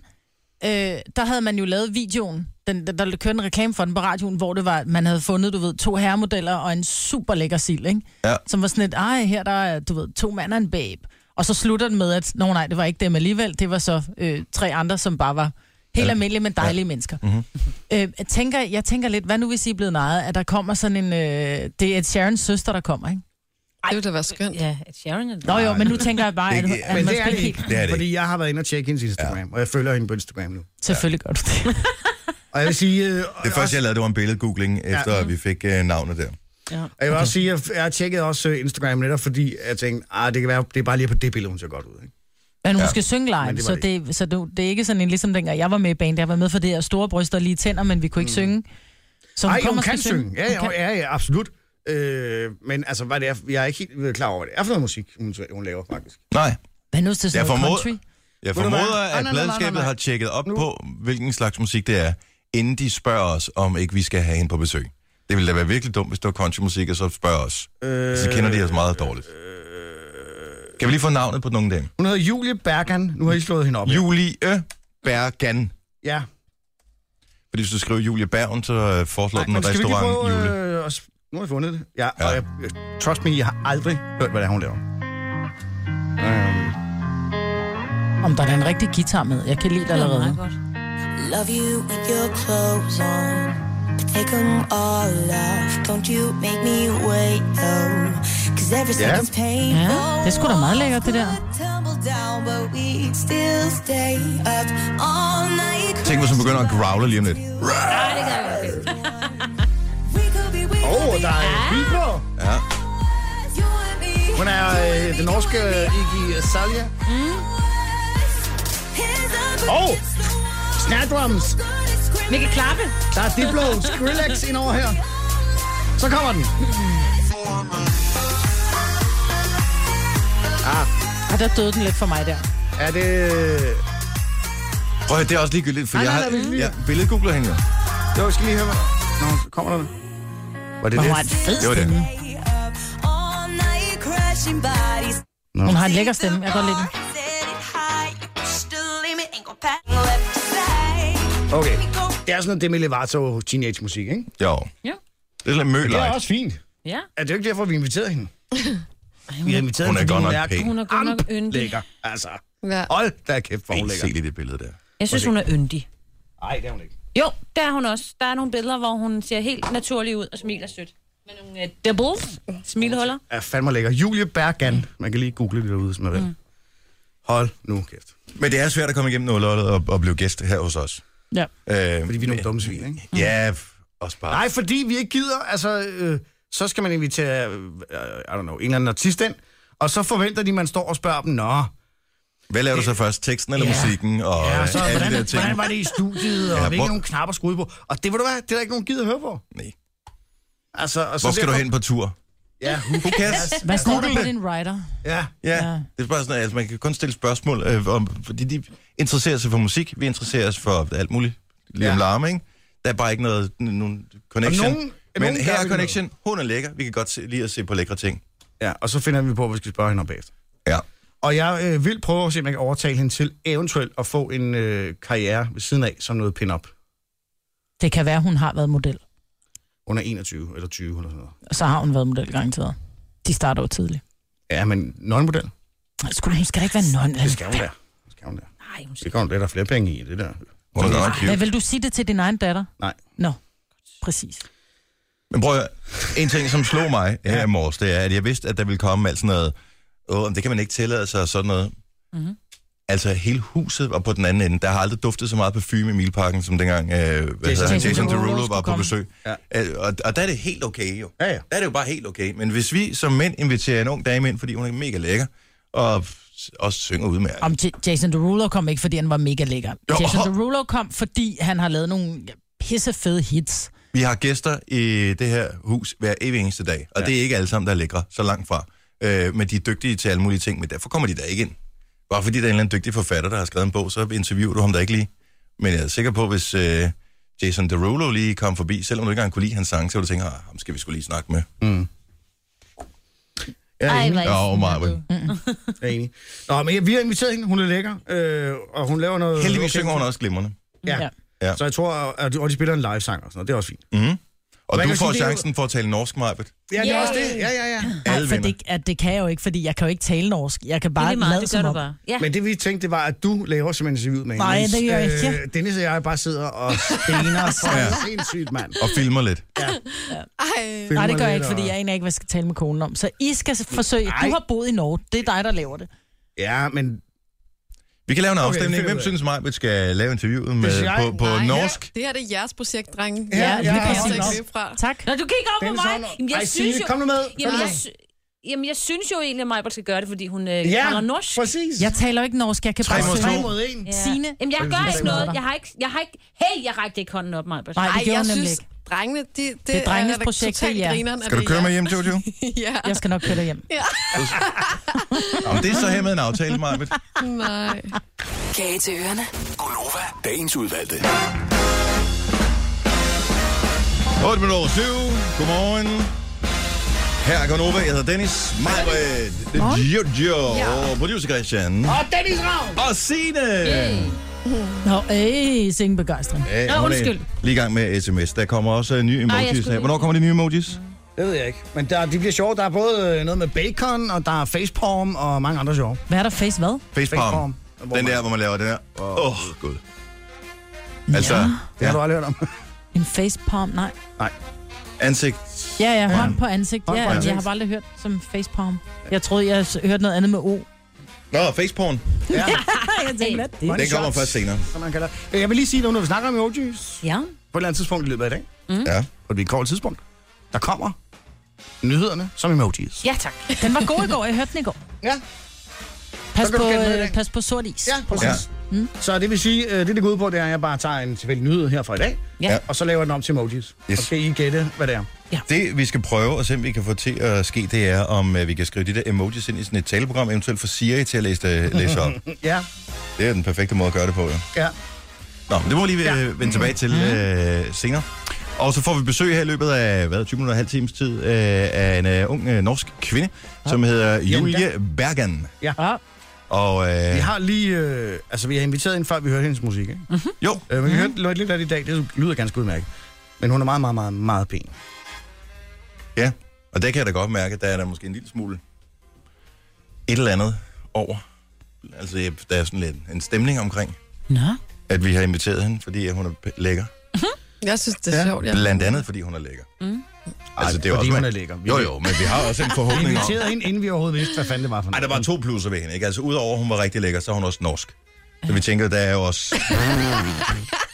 øh, der havde man jo lavet videoen, den, der, der kørte en reklame for den på radioen, hvor det var, man havde fundet, du ved, to herremodeller og en super lækker sild, ikke?
Ja.
Som var sådan et, ej, her der er, du ved, to mand og en babe. Og så slutter den med, at, nå nej, det var ikke dem alligevel, det var så øh, tre andre, som bare var
Ja.
helt ja. almindelige, men dejlige ja. mennesker.
Mhm.
Mm-hmm. Øh, jeg, tænker, jeg tænker lidt, hvad nu hvis I er blevet nejet, at der kommer sådan en, øh, det er et Sharons søster, der kommer, ikke?
Det ville da være skønt.
Ja, at Sharon er
Nå jo,
Nej,
men nu tænker jeg bare, at,
det-
at,
Men
man
det
skal
er det
ikke
ikke.
helt...
Det er det
Fordi jeg har været inde og tjekke hendes Instagram, og jeg følger hende på Instagram nu.
Selvfølgelig gør du det.
Og jeg vil sige... Øh,
Det første, jeg lavede, det var en billedgoogling, efter
Ja. Mm.
at vi fik øh, navnet der.
jeg vil også sige, at jeg har tjekket også øh, Instagram netop, fordi jeg tænkte, ah, det kan være, det er bare lige på det billede, hun ser godt ud. Ikke?
Men hun
Ja.
ja. skal synge live,
Men det
det
var
så,
det
det, så det, det er ikke sådan en, ligesom dengang jeg var med i bandet. Jeg var med for det her store bryster og lige tænder, men vi kunne ikke mm. synge. Så
Nej,
kommer
hun
og skal
kan synge. Ja,
Hun
ja, ja, ja absolut. Øh, men altså, hvad det er, jeg er ikke helt klar over, hvad det er for noget musik, hun, hun laver faktisk.
Nej.
Hvad nu hvis det er
Jeg
sådan noget
formoder-
country?
Jeg
Ved du hvad?
formoder,
Ej, nej,
at
nej, nej, nej,
pladskabet
nej.
har tjekket op
Nu.
på, hvilken slags musik det er, inden de spørger os, om ikke vi skal have hende på besøg. Det ville da være virkelig dumt, hvis det var countrymusik, og Altså, så spørger os.
Øh,
Så kender de os meget dårligt.
Øh,
Kan vi lige få navnet på nogen af dem?
Hun hedder Julie Bergan. Nu har I slået hende op. her.
Julie Bergan.
ja.
Fordi hvis du skriver Julie Bergen, så øh, foreslår den
men
en restaurant Julie.
øh, os- nu har vi fundet det. Ja,
Ja.
ja. og jeg, jeg- trust me, jeg har aldrig hørt, hvad det er, hun laver. Øhm,
Om der er da en rigtig guitar med. Jeg kan lide det allerede.
Oh Love
godt.
you with your clothes on, but take 'em all off. Don't you make me wait though, 'cause every
Ja.
second's painful.
Ja, det er sgu da meget lækkert, det der.
Could tumble down, but we'd still stay up all night.
øh,
Tænk, hvis hun begynder at growle lige om lidt.
Nej, det kan jeg godt.
We could be, we
Åh,
could
oh,
be
der er Vibo.
Ja.
us, you and me.
Hun er øh, den norske Iggy Azalea.
Here's a
Åh,
bridge so long,
Snadrums.
but it's criminal.
Mikkel Klappe.
Der er Diplo, Skrillex ind over her. Så kommer den.
Og der døde den lidt for mig der.
Ah. Er det...
Prøv at høre, det er også ligegyldigt, for
Nej,
jeg
nej,
har
nej, vi-
ja, billedgoogler hende jo.
Jo, jeg skal lige høre, hvad... Nå, kommer der det? Var det
Men
det?
hun har en fed
Det var det.
stemme.
Stay up all night, crashing bodies.
Hun har en lækker stemme. Jeg kan godt lide den.
Okay. Det er sådan noget Demi Lovato teenage-musik, ikke?
Jo.
Ja.
Det er lidt mø
Det er også fint.
Ja.
Er det jo ikke derfor, vi inviterede hende? Vi har inviteret
Hun er
hende,
godt
fordi
nok pæn.
Hun er godt nok yndig.
lækker. Altså,
Ja.
hold da kæft, hvor hun
Helt
lækker.
set i det billede der.
Jeg synes, hun er yndig.
Nej, det er hun ikke.
Jo, der er hun også. Der er nogle billeder, hvor hun ser helt naturlig ud og smiler sødt. Med nogle uh, doubles smilehuller.
Er fandme lækker. Julie Bergan. Man kan lige google det derude, hvis man vil. Hold nu kæft.
Men det er svært at komme igennem nåløjet og, og blive gæst her hos os.
Ja.
Øh,
Fordi vi er nogle dumme svin, ikke?
Ja, f- også bare.
Nej, fordi vi ikke gider, altså, øh, så skal man invitere, øh, I don't know, en eller anden artist ind, og så forventer de, at man står og spørger dem, nå,
Hvad laver du så først? Teksten eller
Ja.
musikken? Og
ja, så,
alle
hvordan,
de der ting.
hvordan var det i studiet, og
Ja,
ja, hvilke
hvor-
nogle knapper skulle ud på? Og det, ved du hvad, det er der ikke nogen gider at høre på.
Nej.
Altså, og så
Hvor skal du
derfor-
hen på tur?
Ja,
Who cares?
Hvad står der
Google
på
det.
din rider?
ja.
Ja,
Ja.
det er bare sådan, at altså, man kan kun stille spørgsmål, øh, om, fordi de interesserer sig for musik, vi interesserer os for alt muligt, lige om
Ja.
larme, ikke? Der er bare ikke noget, n- nogen connection.
Og nogen-
Men
nogen
her
gør
er
vi
connection, hun er lækker, vi kan godt se, lige at se på lækre ting.
ja, og så finder vi på, hvad vi skal spørge hende om bagefter.
Ja.
Og jeg øh, vil prøve at se, om jeg kan overtale hende til eventuelt at få en øh, karriere ved siden af, som noget pin-up.
Det kan være, hun har været model.
Under 21 eller 20 eller sådan noget.
Og så har hun været model garanteret. De starter jo tidligt.
Ja, men nonmodel,
Skulle hun skal da ikke være non?
det skal hun da. Det skal hun da.
Nej, hun
Det går lidt der er flere penge i det
Hun
der.
er godt nok
Men
cute.
vil du sige det til din egen datter?
Nej.
Nå, præcis.
Men prøv at høre, en ting, som slog mig her i morges, det er, at jeg vidste, at der ville komme alt sådan noget, åh, men det kan man ikke tillade sig og sådan noget. Mm-hmm.
Mhm.
Altså, hele huset var på den anden ende. Der har aldrig duftet så meget parfume i Milparken, som dengang øh, hvad hedder han,
Jason
Jason
Derulo
Derulo var
skulle
på
komme.
besøg.
Ja.
Øh, og, og der er det helt okay jo.
Ja, ja.
Der er det jo bare helt okay. Men hvis vi som mænd inviterer en ung dame ind, fordi hun er mega lækker, og også synger udmærket.
Om J- Jason Derulo kom ikke, fordi han var mega lækker.
Jo.
Jason Derulo kom, fordi han har lavet nogle pisse fede hits.
Vi har gæster i det her hus hver evig eneste dag, og ja. det er ikke alle sammen, der er lækre, så langt fra. Øh, men de er dygtige til alle mulige ting, men derfor kommer de da ikke ind. Bare fordi der er en eller anden dygtig forfatter, der har skrevet en bog, så interviewer du ham da ikke lige. Men jeg er sikker på, hvis øh, Jason Derulo lige kom forbi, selvom du ikke engang kunne lide hans sang, så ville du tænke, ah, ham skal vi skulle lige snakke med.
Jeg er
Ej,
enig.
hvor
Ja, og Marvin.
Jeg er enig. Nå, men jeg- vi har inviteret hende. Hun er lækker. Øh, og hun laver noget...
Heldigvis synger hun også glimrende.
Ja.
Ja.
ja.
Ja. Mm-hmm.
Så jeg tror, at og de spiller en live-sang og sådan noget. Det er også fint.
Og
Man
du
kan
får
sige, det er jo-
chancen for at tale norsk, Marvitt.
Ja, det er også det. Ja, ja, ja.
Nej,
Alle
for
vinder.
det, at det kan jeg jo ikke, fordi jeg kan jo ikke tale norsk. Jeg kan
Det er
bare
lige meget,
lade
det gør
som
du
om.
bare. Ja.
Men det vi tænkte, det var, at du laver simpelthen interviewet med hende.
Nej,
mens,
det gør jeg ikke.
Øh, Dennis og jeg bare sidder og stener for ja. sindssygt, mand.
Og filmer lidt.
Øh.
Ej.
Nej, det gør jeg
Filmer
ikke,
lidt,
fordi jeg aner ikke, hvad jeg skal tale med konen om. Så I skal forsøge.
Nej.
Du har boet i Norge. Det er dig, der laver det.
og- Ja, men
Vi kan lave en
det
afstemning.
finder
Hvem
vi ud
synes mig, vi skal lave interviewet med,
jeg.
på, på
Ej,
norsk?
ja, Det her det er jeres projekt, drenge. Ja,
ja,
det kan jeg
præcis.
også ikke løbe fra.
Tak.
Når du kigger op på
Dennis
mig,
Havner-
jamen, jeg
Ej,
synes
Signe,
jo...
kom nu med.
Jamen,
Kom nu
jeg, sy- jamen, jeg synes jo egentlig, at Majbert skal gøre det, fordi hun øh,
Ja,
taler norsk.
præcis.
Jeg taler jo ikke norsk. Jeg kan
Tre
bare
mod
synge.
to.
Tre mod en.
Ja.
Signe.
Jamen, jeg
Hvad
gør
vil du
ikke
sige?
noget. Jeg har ikke... Jeg har ikke hey, jeg rækte ikke hånden op, Majbert.
Nej, det
Ej,
gjorde
jeg
hun nemlig
synes,
ikke.
drengene, det, det,
Det er drengenes
da
projekt,
totalt
det er jer.
grineren, at
Skal du
det er
køre med
jer.
hjem, Jojo?
ja,
Jeg skal nok køre dig hjem.
Jamen, det er så her med en aftale, Marvitt.
nej.
Kage til ørerne.
Gonova, dagens udvalgte.
8 minutter over syv. Godmorgen. Her er Gonova, jeg hedder Dennis, Majbred, Jojo, ja. producer Christian. Og Dennis Ravn. Og Signe. Yeah.
Nå, ej, sing begejstring.
Ja,
Nå,
hun er
undskyld.
Lige i gang med sms. Der kommer også øh, nye
jeg
emojis.
skulle
her.
lige-
Hvornår kommer de nye emojis?
Det ved jeg ikke. Men der, de bliver sjove. Der er både øh, noget med bacon, og der er facepalm, og mange andre sjove.
Hvad er der face hvad?
Facepalm.
Facepalm.
Den der, hvor man laver den her. Åh, oh, gud. Altså,
Ja.
Det har du aldrig hørt om.
En facepalm, nej.
ansigt.
Ja, ja, hånd på ansigt.
Hånd
Ja,
på ansigt.
jeg har bare aldrig hørt som facepalm. Jeg troede, jeg s- hørte noget andet med O.
Nå, faceporn.
Ja,
Jeg tænkte, hvad det?
Den kommer først senere.
som man kalder. det. Øh, Jeg vil lige sige noget, når vi snakker om emojis.
Ja.
På et eller andet tidspunkt i løbet af i dag,
Mm. Ja.
på et vilkårligt tidspunkt, der kommer nyhederne som emojis.
ja, tak.
Den var god i går, jeg hørte den i går.
Ja,
Pas
Så kan
på,
du gætte med i
øh,
dag.
pas på sort is.
ja præcis. Ja. Så det vil sige, øh, det det går ud på, det er, at jeg bare tager en tilfældig nyhed her fra i dag,
Ja.
og så laver jeg den om til emojis.
Yes.
Yes. Og kan I gætte, hvad det er?
Det, vi skal prøve og se, om vi kan få til at ske, det er, om øh, vi kan skrive de der emojis ind i sådan et taleprogram, eventuelt få Siri til at læse, det, læse op.
Ja,
Det er den perfekte måde at gøre det på, jo.
ja.
Nå, men det må vi lige ja. vende tilbage til
Mhm.
øh, senere. Og så får vi besøg her i løbet af hvad, 20 minutter og halv times tid øh, af en øh, ung øh, norsk kvinde, ja. som hedder Julie Bergan.
Ja.
Og øh,
Vi har lige, øh, altså vi har inviteret hende, før vi hørte hendes musik, ikke?
Mhm.
jo,
Øh, men vi hørte lidt- lidt af det i dag, det lyder ganske udmærket. Men hun er meget, meget, meget, meget pæn.
ja. Og der kan jeg da godt mærke, at der er der måske en lille smule et eller andet over. Altså, jeg- der er sådan lidt en stemning omkring,
Nå.
at vi har inviteret hende, fordi at hun er p- lækker.
Jeg synes, det er
Ja.
ja. sjovt, ja.
Blandt andet, fordi hun er lækker. Mm. Altså, det er jo
fordi
også,
hun er lækker. Vi-
Jo, jo, men vi har også en
Vi
forhåbning om...
inviterede hende, inden vi overhovedet vidste, hvad fanden det var for
Ej, der var to plusser ved hende, ikke? Altså, udover at hun var rigtig lækker, så er hun også norsk. Så vi tænker, der er jo også...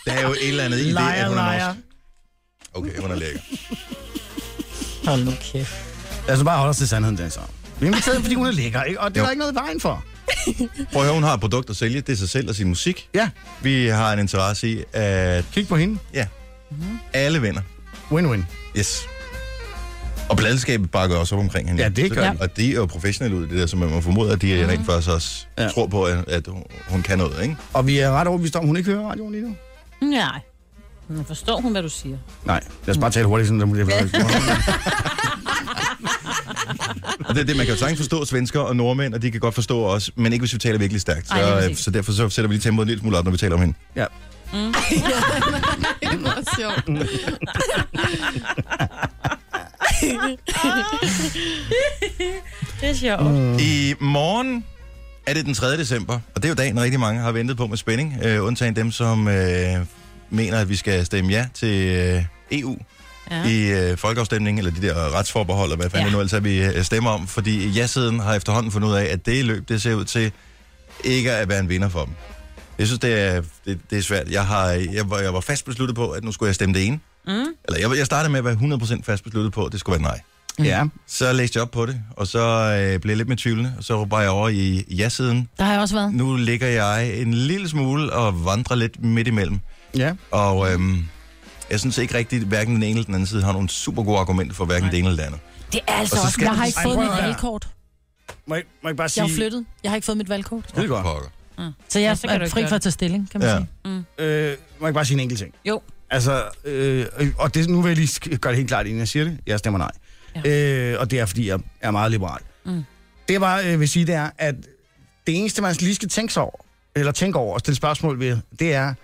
der er jo et eller andet i det, at
Lejer,
hun er
lejer.
norsk. Okay, hun er lækker.
Hold nu kæft.
Lad os nu Altså, bare holde os til sandheden, den så. Vi inviterede hende, fordi hun er lækker, ikke? Og det er
Jo.
der ikke noget i vejen for.
Prøv at høre, hun har et produkt at sælge. Det er sig selv og sin musik.
Ja,
Vi har en interesse i, at
kig på hende. Mm-hmm.
ja, alle vinder.
Win-win.
Yes. Og pladskabet bakker også op omkring hende.
Ja, det gør
Så- Og de er jo professionelle ud i det der, så man må formode, at de rent faktisk også
Ja.
tror på, at at hun kan noget, ikke?
Og vi er ret overbevist om, at hun ikke hører radioen lige nu.
Nej. Men Forstår hun, hvad du siger?
Nej, lad os bare tale hurtigt, sådan, at hun bliver
Og det, er det, man kan jo sagtens forstå svensker og nordmænd, og de kan godt forstå os, men ikke hvis vi taler virkelig stærkt. Så,
Ej, lige
Ej,
præcis.
så derfor så sætter vi lige tempoet en lille smule op, når vi taler om hende.
Mm. Ja.
Det er meget sjovt.
Det er sjovt.
I morgen er det den 3. december, og det er jo dagen, rigtig mange har ventet på med spænding, øh, undtagen dem, som øh, mener, at vi skal stemme ja til øh, EU ja. i øh, folkeafstemningen, eller de der retsforbehold, og hvad fanden ja.
Ja.
nu ellers er, vi øh, stemmer om, fordi ja-siden har efterhånden fundet ud af, at det løb, det ser ud til ikke at være en vinder for dem. Jeg synes, det er, det, det er svært. Jeg, har, jeg, var, jeg var fast besluttet på, at nu skulle jeg stemme det ene. Mm. Eller jeg, jeg startede med at være 100% fast besluttet på, at det skulle være nej.
ja.
Så læste jeg op på det, og så øh, blev jeg lidt med tvivlende, og så var jeg over i ja-siden.
Der har jeg også været.
Nu ligger jeg en lille smule og vandrer lidt midt imellem.
Ja.
Og øhm, jeg synes ikke rigtigt, hverken den ene eller den anden side har nogle super gode argumenter for hverken det ene eller det andet.
Det er altså
Og så
også...
skal-
Jeg har ikke
Ej,
fået
prøv
mit
at høre.
valgkort.
Må jeg, må jeg ikke bare sige...
Jeg er flyttet. Jeg har ikke fået mit valgkort.
Det er godt.
Pokker.
Så jeg
Mm. Ja, så kan du
er
ikke
fri
gøre
for at
det. Mm.
tage stilling, kan man
Ja.
sige.
Øh, må jeg ikke bare sige en enkelt ting?
Jo.
Altså, øh, og det, nu vil jeg lige sk- gøre det helt klart, inden jeg siger det. Jeg stemmer nej. Ja. Øh, og det er, fordi jeg er meget liberal. Mm. Det jeg bare øh, vil sige, det er, at det eneste, man lige skal tænke sig over, eller tænke over og stille spørgsmål ved, det er,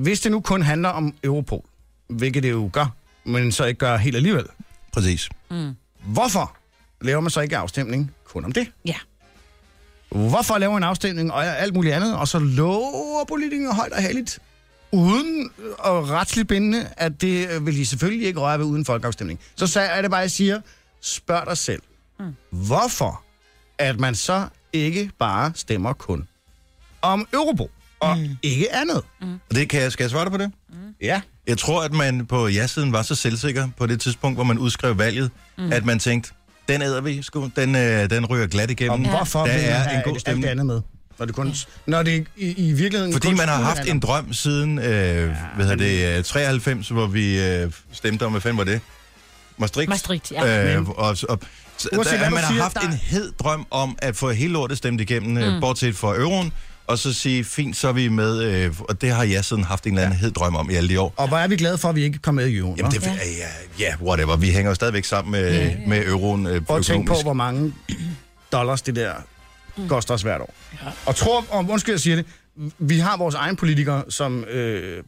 hvis det nu kun handler om Europol, hvilket det jo gør, men så ikke gør helt alligevel,
Præcis.
Mm.
hvorfor laver man så ikke afstemning kun om det?
Ja.
Hvorfor lave en afstemning og alt muligt andet, og så lover politikerne højt og heldigt, uden og retsligt bindende, at det øh, vil de selvfølgelig ikke røre ved uden folkeafstemning. Så sag- er det bare, jeg siger, spørg dig selv, mm. hvorfor at man så ikke bare stemmer kun om Europol, og mm. ikke andet? Mm.
Og det kan jeg, skal jeg svare dig på det?
Ja.
Jeg tror, at man på ja-siden var så selvsikker på det tidspunkt, hvor man udskrev valget, mm. at man tænkte, den æder vi sgu, den, øh, den ryger glat
Og
igennem.
hvorfor
Der
vil man
er
have
en god
alt- alt det
stemning. Mm.
andet med? Når det, kun, når det i, i virkeligheden
Fordi
kun
man har
skulle
haft
handle
en
om-
drøm siden øh, hvad hedder det, øh, 93, hvor vi øh, stemte om, hvad fanden var det? Maastricht?
Maastricht,
ja.
ja.
Øh, og, og, så,
Uanset
der,
hvad du
man har
siger,
haft
der-
en hed drøm om at få hele lortet stemt igennem, mm. øh, bortset fra euroen, og så sige, fint, så er vi med, øh, og det har jeg sådan haft en eller anden hed drøm om i alle de år.
Og hvor er vi glade for, at vi ikke kom med i euroen.
Jamen,
hva'?
det, ja. Ja, ja, whatever. Vi hænger jo stadigvæk sammen med, ja, ja. med euroen øh,
Prøv at tænke på,
økonomisk.
hvor mange dollars det der koster os hvert år. Og tror, og undskyld, jeg siger det, vi har vores egne politikere, som øh,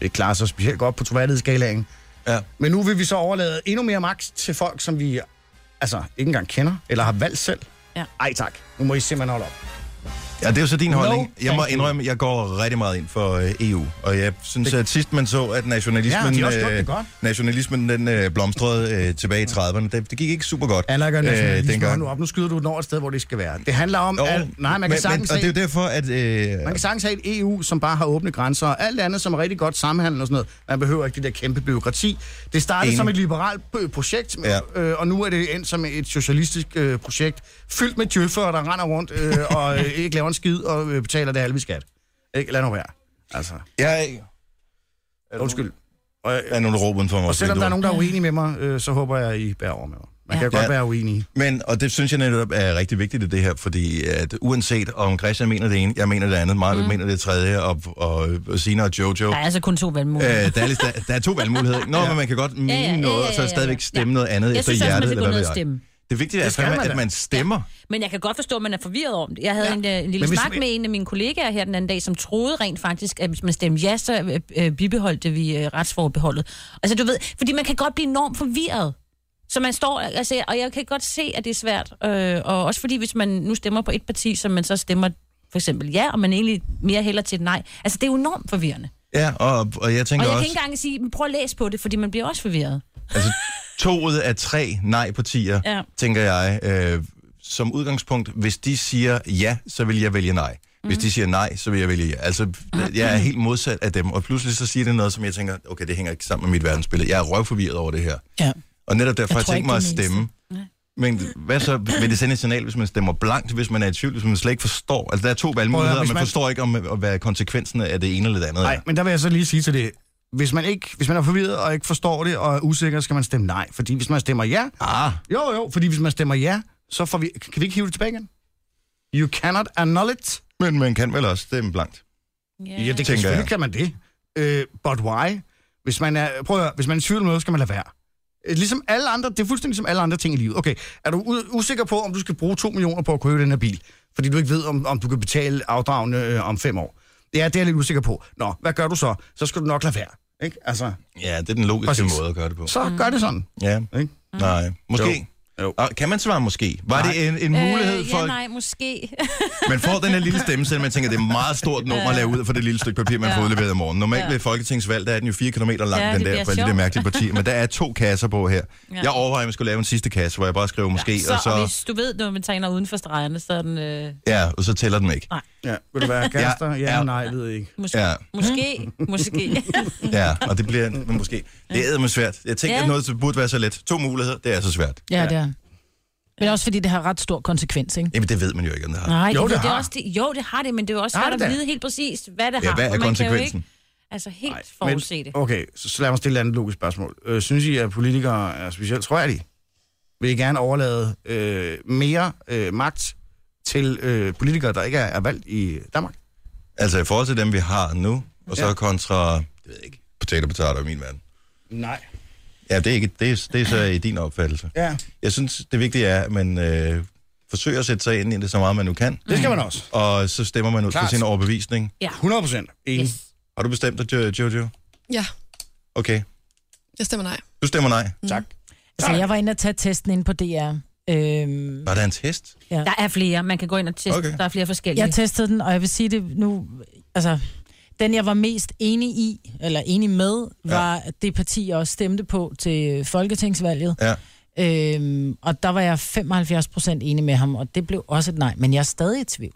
ikke klarer sig specielt godt på troværdighedsskalaen.
Ja.
Men nu vil vi så overlade endnu mere magt til folk, som vi altså ikke engang kender, eller har valgt selv.
Ja.
Ej tak, nu må I simpelthen holde op.
Øh, Ja, det er jo så din
No,
holdning. Jeg må
thank you.
indrømme, jeg går rigtig meget ind for øh, EU, og jeg synes,
Det-
at sidst man så, at
Ja,
nationalismen, øh,
de har også gjort det godt.
nationalismen den øh, blomstrede øh, tilbage i 30'erne, det, det gik ikke super godt
Allergør nationalisme, øh,
dengang.
nu op, nu skyder du den over et sted, hvor det skal være. Det handler om,
Jo,
at, nej, man kan sagtens
men, Og det er
se-
jo derfor, at... Øh,
Man kan sagtens have et EU, som bare har åbne grænser, og alt andet, som er rigtig godt samhandel og sådan noget. Man behøver ikke det der kæmpe byråkrati. Det startede
Enig.
som et liberalt øh, projekt,
Ja.
ja. øh, og nu er det endt som et socialistisk øh, projekt, fyldt med djøffere, der render rundt øh, og øh, ikke laver en skid og øh, betaler det halve i skat. Ikke? Lad nu være. Altså,
jeg
undskyld. Og, øh,
er nogle råb uden for mig.
og selvom der
vinduer.
er nogen, der er uenige med mig, øh, så håber jeg, I bærer over med mig. Man kan ja. godt
Ja.
være uenige.
Men, og det synes jeg netop er rigtig vigtigt i det her, fordi at uanset om Christian mener det ene, jeg mener det andet, Maja mm. mener det tredje, og, og, og Sina og Jojo,
Der er altså kun to valgmuligheder.
Øh, der, er, lidt- der, der er to valgmuligheder. ikke? Nå, ja. men man kan godt mene ja, ja, ja, noget, og så
ja, ja.
stadigvæk stemme ja. noget andet
Jeg
efter
synes også, man
hjertet.
skal gå
eller
ned
hvad
og
ved jeg.
stemme.
Det vigtige er,
Det skal
fandme,
man da.
at man stemmer.
Men jeg kan godt forstå, at man er forvirret om det. Jeg havde ja. en, øh, en lille
Men hvis
snak
vi-
med en af mine kollegaer her den anden dag, som troede rent faktisk, at hvis man stemte ja, så øh, øh, bibeholdte vi øh, retsforbeholdet. Altså du ved, fordi man kan godt blive enormt forvirret. Så man står, altså, og jeg kan godt se, at det er svært. Øh, og også fordi, hvis man nu stemmer på et parti, som man så stemmer for eksempel ja, og man egentlig mere hælder til et nej. Altså, det er jo enormt forvirrende.
Ja, og, og jeg
Og
tænker
jeg kan
også,
ikke engang sige, "Men prøv at læse på det, fordi man bliver også forvirret.
altså to ud af tre nej-partier, ja.
Ja.
tænker jeg, øh, som udgangspunkt, hvis de siger ja, så vil jeg vælge nej. Hvis
Mhm.
de siger nej, så vil jeg vælge ja. Altså, jeg er helt modsat af dem, og pludselig så siger det noget, som jeg tænker, okay, det hænger ikke sammen med mit verdensbillede. Jeg er røvforvirret over det her.
Ja.
Og netop derfor
Jeg
har jeg
tror
tænkt
ikke,
mig at
det er den
stemme. Men hvad så? Vil det sende et signal, hvis man stemmer blankt, hvis man er i tvivl, hvis man slet ikke forstår? Altså, der er to valgmuligheder,
Prøv at høre,
og
hvis
man, man
man-
forstår ikke, om, hvad konsekvensen af det ene eller det andet
Nej,
er.
men der vil jeg så lige sige til det. Hvis man, ikke, hvis man er forvirret og ikke forstår det og er usikker, skal man stemme nej. Fordi hvis man stemmer ja,
Ah,
Jo, jo, fordi hvis man stemmer ja, så får vi... Kan vi ikke hive det tilbage igen? You cannot annul it.
men man kan vel også stemme blankt.
Yeah.
det tænker
Selvfølgelig
jeg.
kan man det. Øh, but why? Hvis man er, prøv at høre, hvis man er i tvivl om noget, skal man lade være. Øh, Ligesom alle andre, det er fuldstændig som alle andre ting i livet. Okay, er du u- usikker på, om du skal bruge 2 millioner på at købe den her bil, fordi du ikke ved, om, om du kan betale afdragende øh, om fem år? Ja, det er jeg lidt usikker på. Nå, hvad gør du så? Så skal du nok lade være. Ikke? Altså,
Ja, det er den logiske
Præcis.
måde at gøre det på.
så gør det sådan.
Ja,
Ikke?
nej. Måske.
Jo. Jo.
Og kan man svare måske? Var det en, en mulighed
Øh,
for...
Øh, ja, nej, måske.
Man får den her lille stemme, selvom man tænker, det er et meget stort nummer at lave ud for det lille stykke papir, man får udleveret om morgenen. Normalt ved folketingsvalg, der er den jo 4 km lang,
Ja,
ja,
det
den der,
bliver
for alle de der
sjovt.
mærkelige partier. Men der er to kasser på her. Ja. Jeg overvejer, at man skulle lave en sidste kasse, hvor jeg bare skriver måske,
så,
og
og
så...
hvis du ved, når man tegner uden for stregerne, så er den øh,
Ja, og så tæller den ikke.
Ja, vil du være gaster? Ja,
ja.
ja, nej, ved jeg ikke.
måske,
Ja.
ja. måske, måske.
Ja, og det bliver men måske... Det er med svært. Jeg tænker,
Ja.
at noget der burde være så let. To muligheder, det er så svært.
Ja, det er. Men også fordi det har ret stor konsekvens, ikke?
Jamen, det ved man jo ikke, om det har.
Nej,
Jo,
det,
det
det er
har.
også det, jo, det har det, men det er jo også
Har
svært
det
at
da?
vide helt præcis, hvad det
Ja,
har.
hvad
for
er
man kan jo
konsekvensen?
Ikke, altså helt
Nej, men-
forudse det.
Okay, så, så lad mig stille et andet logisk spørgsmål. Øh, synes I, at politikere er specielt troværdige? Vil I gerne overlade øh, mere øh, magt til øh, politikere, der ikke er, er valgt i Danmark?
Altså, i forhold til dem, vi har nu, og så
Ja.
kontra... Det ved jeg ikke. Potato, potato i min verden.
Nej.
Ja, det er, ikke, det, er, det er så i din opfattelse.
Ja,
Jeg synes, det vigtige er, at man øh, forsøger at sætte sig ind i det så meget, man nu kan.
det skal man også.
Og så stemmer man ud fra
Klart.
sin overbevisning.
100 procent. Yes.
Yes.
Har du bestemt dig, Jo- Jojo?
Ja,
Okay.
jeg stemmer nej.
Du stemmer nej.
Tak.
altså, jeg var inde og tage testen inde på DR. Øhm,
Var der en test?
Der er flere, man kan gå ind og teste.
Okay.
Okay. Der er flere forskellige.
jeg testede den, og jeg vil sige det nu... Altså, den, jeg var mest enig i, eller enig med, var ja. det parti, jeg også stemte på til folketingsvalget.
Ja.
Øhm, og der var jeg 75 procent enig med ham, og det blev også et nej. Men jeg er stadig i tvivl.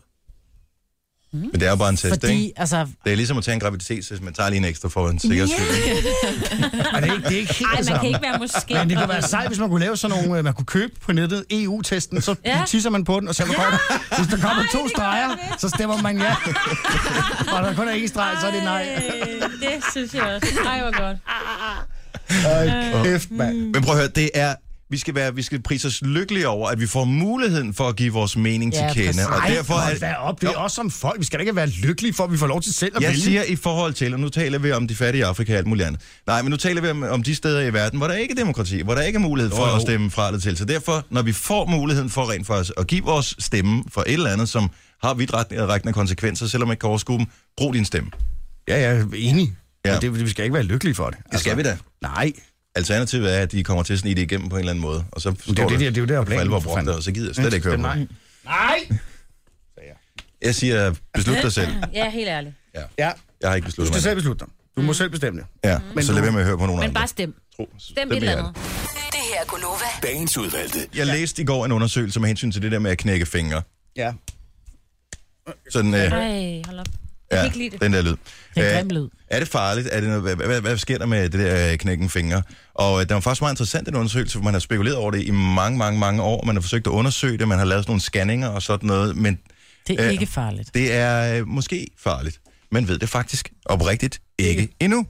Men det er jo bare en test, Fordi...
Fordi,
ikke?
altså,
Det er ligesom at tage en graviditetstest, man tager lige en ekstra for en sikkerheds skyld.
Og det, er ikke, det er ikke helt
Ej,
det
man kan
samme.
ikke være måske.
Men det kunne være sejt, hvis man kunne lave sådan nogle, øh, man kunne købe på nettet, EU-testen, så ja.
Ja.
tisser man på den, og så kommer der, hvis der kommer to streger, så stemmer man ja. og der kun er en streg, så er det nej.
Ej, det synes jeg også. Ej, hvor godt.
Ej, kæft, mand.
Men prøv at høre, det er... Vi skal, være, vi skal prise os lykkelige over, at vi får muligheden for at give vores mening
Ja,
til kende.
præcis.
Og
Ej,
derfor
hold
er,
da op. Det er
Jo.
også som folk. Vi skal da ikke være lykkelige for, at vi får lov til selv at
jeg
vælge.
siger i forhold til, og nu taler vi om de fattige i Afrika og alt muligt andet. Nej, men nu taler vi om, om de steder i verden, hvor der ikke er demokrati, hvor der ikke er mulighed for
Jo, jo.
at stemme fra eller til. Så derfor, når vi får muligheden for rent for os at give vores stemme for et eller andet, som har vidtrækkende konsekvenser, selvom man ikke kan overskue dem, brug din stemme.
Ja, jeg er enig.
Ja.
Ja. Det, vi skal ikke være lykkelige for det. Altså,
Det skal vi da.
Nej.
Alternativet er, at de kommer til at snige det igennem på en eller anden måde, og så står
det er jo det, der- det er jo der,
for
planen,
alvor
for
brugt
fanden.
det, og så gider jeg slet ikke høre på det.
Nej. Nej!
Jeg siger, beslut dig selv.
Ja, helt ærligt.
Ja,
Jeg har ikke
du
besluttet
skal
mig.
selv beslutte dig. Du må selv bestemme det.
Ja, men så lad være med at høre på nogen
Men
andre.
bare stem.
Tro-
Stem et
vil
eller
jeg.
andet.
Det her er Gunova.
Dagens udvalgte.
Jeg læste i går en undersøgelse med hensyn til det der med at knække fingre.
Ja.
Sådan, øh,
Ej, hold op.
ja,
Jeg kan ikke lide det.
den der lyd.
Det er
Øh,
en grim lyd.
Er det farligt? Er det noget, hvad, hvad, hvad sker der med det der øh, knækken fingre? Og øh, der var faktisk meget interessant den undersøgelse, for man har spekuleret over det i mange, mange, mange år. Man har forsøgt at undersøge det, man har lavet sådan nogle scanninger og sådan noget, men
Det er
Øh,
ikke farligt.
Det er øh, måske farligt. Man ved det faktisk oprigtigt ikke endnu.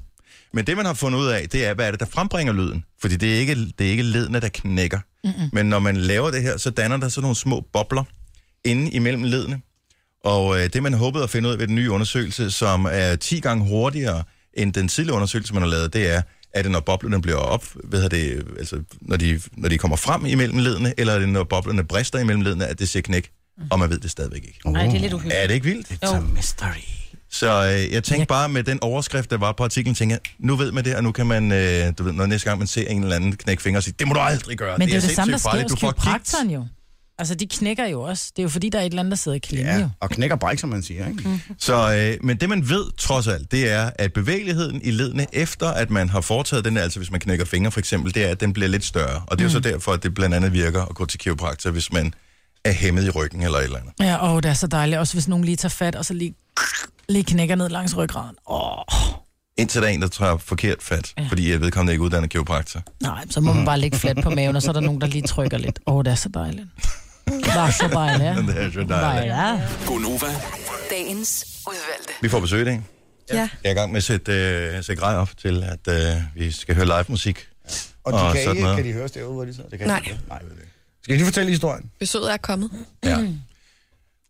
Men det, man har fundet ud af, det er, hvad er det, der frembringer lyden? Fordi det er ikke, det er ikke ledene, der knækker. Mm-hmm.
Mm.
Men når man laver det her, så danner der sådan nogle små bobler inde imellem ledene. Og øh, det, man håbede at finde ud af ved den nye undersøgelse, som er 10 gange hurtigere end den tidligere undersøgelse, man har lavet, det er, er det, når boblerne bliver op, hvad hedder det, øh, altså, når, de, når de kommer frem imellem ledene, eller er det, når boblerne brister imellem ledene, at det siger knæk, og man ved det stadigvæk ikke.
Uh,
Nej, det er lidt uhyggeligt.
Er det ikke vildt?
Jo.
Mystery.
Så øh, jeg tænkte bare med den overskrift, der var på artiklen, tænkte jeg, nu ved man det, og nu kan man, øh, du ved, når næste gang man ser en eller anden knække fingre og sige, det må du aldrig gøre,
Men det er jo det samme, der
sindssygt
sker
farligt,
hos
du får
kiropraktoren jo. Altså, de knækker jo også. Det er jo fordi, der er et eller andet, der sidder i klemme ja. jo.
Ja, og knækker bræk, som man siger, ikke?
Mhm.
Mm.
gigt." Så, øh, men det man ved trods alt, det er, at bevægeligheden i ledene efter, at man har foretaget den, altså hvis man knækker fingre for eksempel, det er, at den bliver lidt større. Og
Mm.
det er jo så derfor, at det blandt andet virker at gå til kiropraktor, hvis man er hæmmet i ryggen eller et eller andet.
Ja, og det er så dejligt. Også hvis nogen lige tager fat, og så lige, lige knækker ned langs ryggraden. Åh,
Indtil der er en, der tager forkert fat, ja. fordi jeg vedkommende ikke er uddannet kiropraktor.
nej, så må man bare ligge fladt på maven, og så er der nogen, der lige trykker lidt. Åh, det er så dejligt. Det er så dejligt.
Det er så dejligt.
Ja.
Gonova.
Dagens udvalgte.
Vi får besøg i dag.
Ja.
Jeg er i gang med at sætte, øh, sætte grej op til, at øh, vi skal høre live musik.
Og de
Og
og kan,
sådan
ikke,
noget.
kan de høres derude, hvor de sidder? Det kan
Nej.
de ikke. Nej. Skal jeg lige fortælle historien?
Besøget er kommet.
Ja.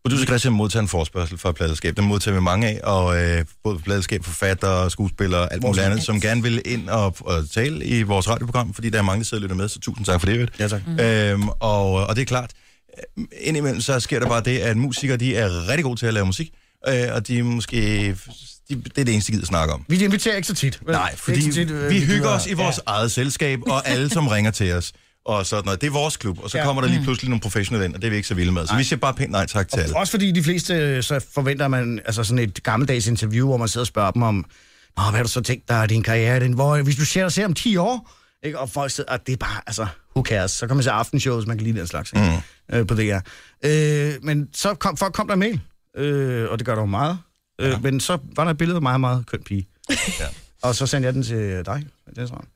Producer Christian modtager en forspørgsel fra pladelskab. Den modtager vi mange af, og øh, både pladelskab, forfattere, skuespillere og alt muligt andet, som gerne vil ind og, og tale i vores radioprogram, fordi der er mange, der sidder og lytter med, så tusind tak for det.
Ja, tak.
Mm. Øhm, og, og det er klart, øh, indimellem så sker der bare det, at musikere de er rigtig gode til at lave musik, øh, og de er måske... De, det er det eneste, de gider snakke om.
Vi inviterer ikke så tit. vel?
Nej, fordi
Ikke så tit, øh,
vi hygger
gider-
os i vores ja. eget selskab, og alle, som ringer til os, og sådan noget. Det er vores klub, og så
Ja.
ja. kommer der lige pludselig nogle professionelle ind, og det er vi ikke så vilde med. Så vi siger bare pænt nej tak til alle.
Også fordi de fleste, øh, så forventer man altså sådan et gammeldags interview, hvor man sidder og spørger dem om, Nå, hvad har du så tænkt dig af din karriere? Den, hvor, hvis du ser dig ser om 10 år, ikke? og folk sidder, og det er bare, altså, who cares? Så kan man se aftenshow, hvis man kan lide den slags, ikke? Mm. Øh, på DR. Øh, men så kom, folk kom der en mail, øh, og det gør der jo meget. Øh, Men så var der et billede af mig og en meget køn pige.
Ja.
Og så sendte jeg den til dig, Dennis Ravn.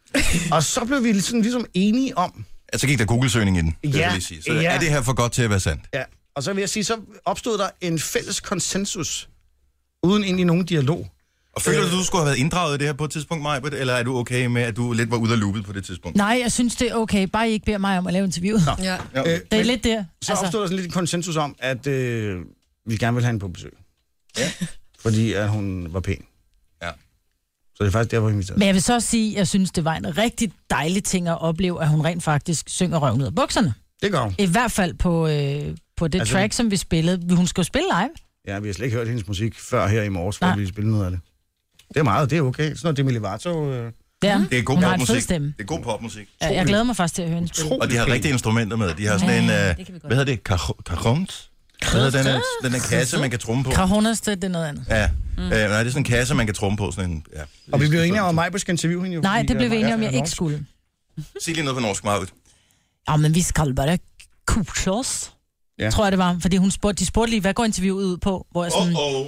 og så blev vi sådan, ligesom enige om,
Altså gik der Google-søgning i den, vil
Ja,
jeg lige sige. Så
ja.
er det her for godt til at være sandt?
Ja, og så vil jeg sige, så opstod der en fælles konsensus, uden egentlig nogen dialog. Øh.
Og føler du, du skulle have været inddraget i det her på et tidspunkt, Majbert, eller er du okay med, at du lidt var ude af loopet på det tidspunkt?
Nej, jeg synes, det er okay. Bare I ikke beder mig om at lave interviewet. Nå.
Ja.
Ja, okay.
Det er lidt der.
Øh, Så altså...
Altså,
opstod der sådan lidt en konsensus om, at øh, vi gerne ville have hende på besøg.
Ja.
Fordi at hun var pæn.
ja.
Så det er faktisk der, hvor vi inviterede.
men jeg vil så også sige, at jeg synes, det var en rigtig dejlig ting at opleve, at hun rent faktisk synger røven ud af bukserne.
Det gør hun.
I hvert fald på, øh, på det
Altså-
altså, track, som vi spillede. Hun skal jo spille live.
Ja, vi har slet ikke hørt hendes musik før her i morges, hvor
Nej.
vi spillede noget af det. Det er meget, det er okay. Sådan noget Demi Lovato. Øh.
Ja.
Det er god
Hun har en fed
popmusik.
stemme.
Det er god popmusik.
Ja, jeg glæder mig faktisk til at høre hende spille.
Og de har rigtige instrumenter med. De har sådan en, øh,
kan vi godt.
hvad hedder det, Kar- karont? Hvad hedder den, her- den her kasse, man kan tromme på?
Krahonas, det, det er noget andet.
Ja, mm. øh, nej, det er sådan en kasse, man kan tromme på. Sådan en, ja.
Og vi blev enige om, at Majbo skal interviewe hende jo.
Nej,
fordi,
det blev
øh,
vi enige om,
Maja
jeg
er
ikke
norsk.
skulle.
Sig lige noget på norsk, Marvitt.
Ja, men vi skal bare kugle os.
Ja.
Ja. Tror jeg, det var. Fordi hun spurgte, de spurgte lige, hvad går interviewet ud på? Hvor jeg sådan,
Åh, åh.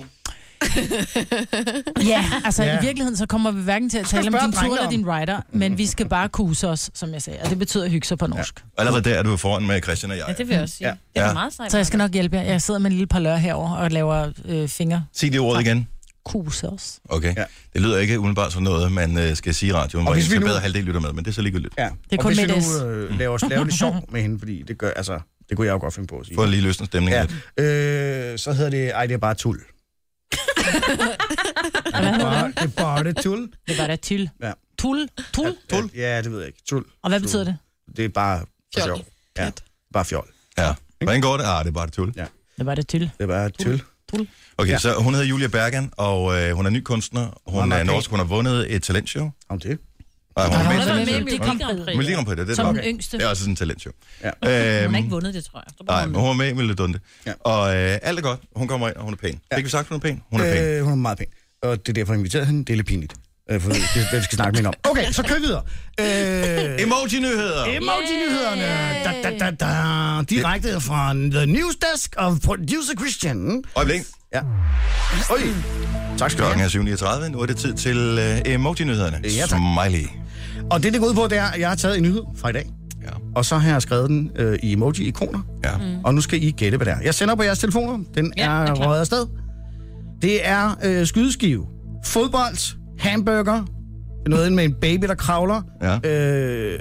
ja, altså
Ja.
i virkeligheden, så kommer vi hverken til at tale om
spørge
din tur
drengene
eller
om.
din rider, men vi skal bare kuse os, som jeg sagde. Og det betyder hygge sig på norsk.
Allerede der er du foran med Christian og jeg.
Ja, det vil jeg også sige.
Ja.
Ja. Det er
Ja.
da meget sejt.
Så jeg skal nok hjælpe jer. Jeg sidder med en lille par lør herover og laver øh, fingre.
Sig det ordet igen.
kuse os.
Okay.
Ja.
Ja. Det lyder ikke umiddelbart som noget, man øh, skal sige i radioen, hvor en
hvis vi
skal
nu-
bedre halvdel lytter med, men det er så ligegyldigt.
Ja.
er
og
kun
hvis
med
vi
et S.
nu øh, laver, os- laver lidt sjov med hende, fordi det gør, altså, det kunne jeg jo godt finde på at sige.
Få en lige løsende stemning.
Ja.
Ja.
Øh, så hedder det, ej, det er bare tul. Ja, det, er bare, det er bare det tul.
Det var da til.
Ja.
Tul? Tul?
Tul? Ja, det ved jeg ikke. Tul.
Og hvad
Tul.
betyder det?
Det er bare for
Fjol.
sjov. Ja,
Pjat.
bare fjol.
ja. Hvordan går det? Ah, det er bare det tulle.
Ja.
Det var da til.
Det er bare tul.
Okay,
Ja.
ja. så hun hedder Julia Bergen, og øh, hun er ny kunstner. Hun
Meget
er
pæn.
norsk, hun har vundet et talentshow. Nej,
Om det.
hun
Hun
er
har
med i
været med i
talentshow.
Melodi
Hun er-
Grand Prix.
Melodi Grand Prix, det er det,
Som
der-
den yngste.
Det er også sådan en talentshow.
Ja.
Øhm,
Hun har ikke vundet det, tror jeg. Så
Nej,
hun
men hun var med i Melodunde.
Ja.
Ja. Og øh, alt er godt. Hun kommer ind, og hun er pæn. Ja. Fik vi sagt, hun er pæn? Hun er øh, pæn.
Øh, hun er meget pæn. Og det er derfor, jeg inviterede hende. Det er lidt pinligt. Øh, for det, det, det, vi skal snakke med hende om. Okay, så kør vi videre. Øh,
Emoji-nyheder!
Emoji-nyhederne. Da, da, da, da. Direkte fra The News Desk of Producer Christian.
Øjeblik.
Ja. Oj. Tak skal du
Klokken
have.
er 7.39. Nu er det tid til øh, emoji-nyhederne.
Ja, tak.
Smiley.
Og det, det går ud på, det er, at jeg har taget en nyhed fra i dag.
Ja.
Og så har jeg skrevet den øh, i emoji-ikoner.
ja. Mm.
Og nu skal I gætte, hvad det er. Jeg sender på jeres telefoner. Den
Ja,
ja,
er
er
klar.
røget afsted. Det er øh, skydeskive, fodbold, hamburger, noget med en baby, der kravler,
Ja.
øh,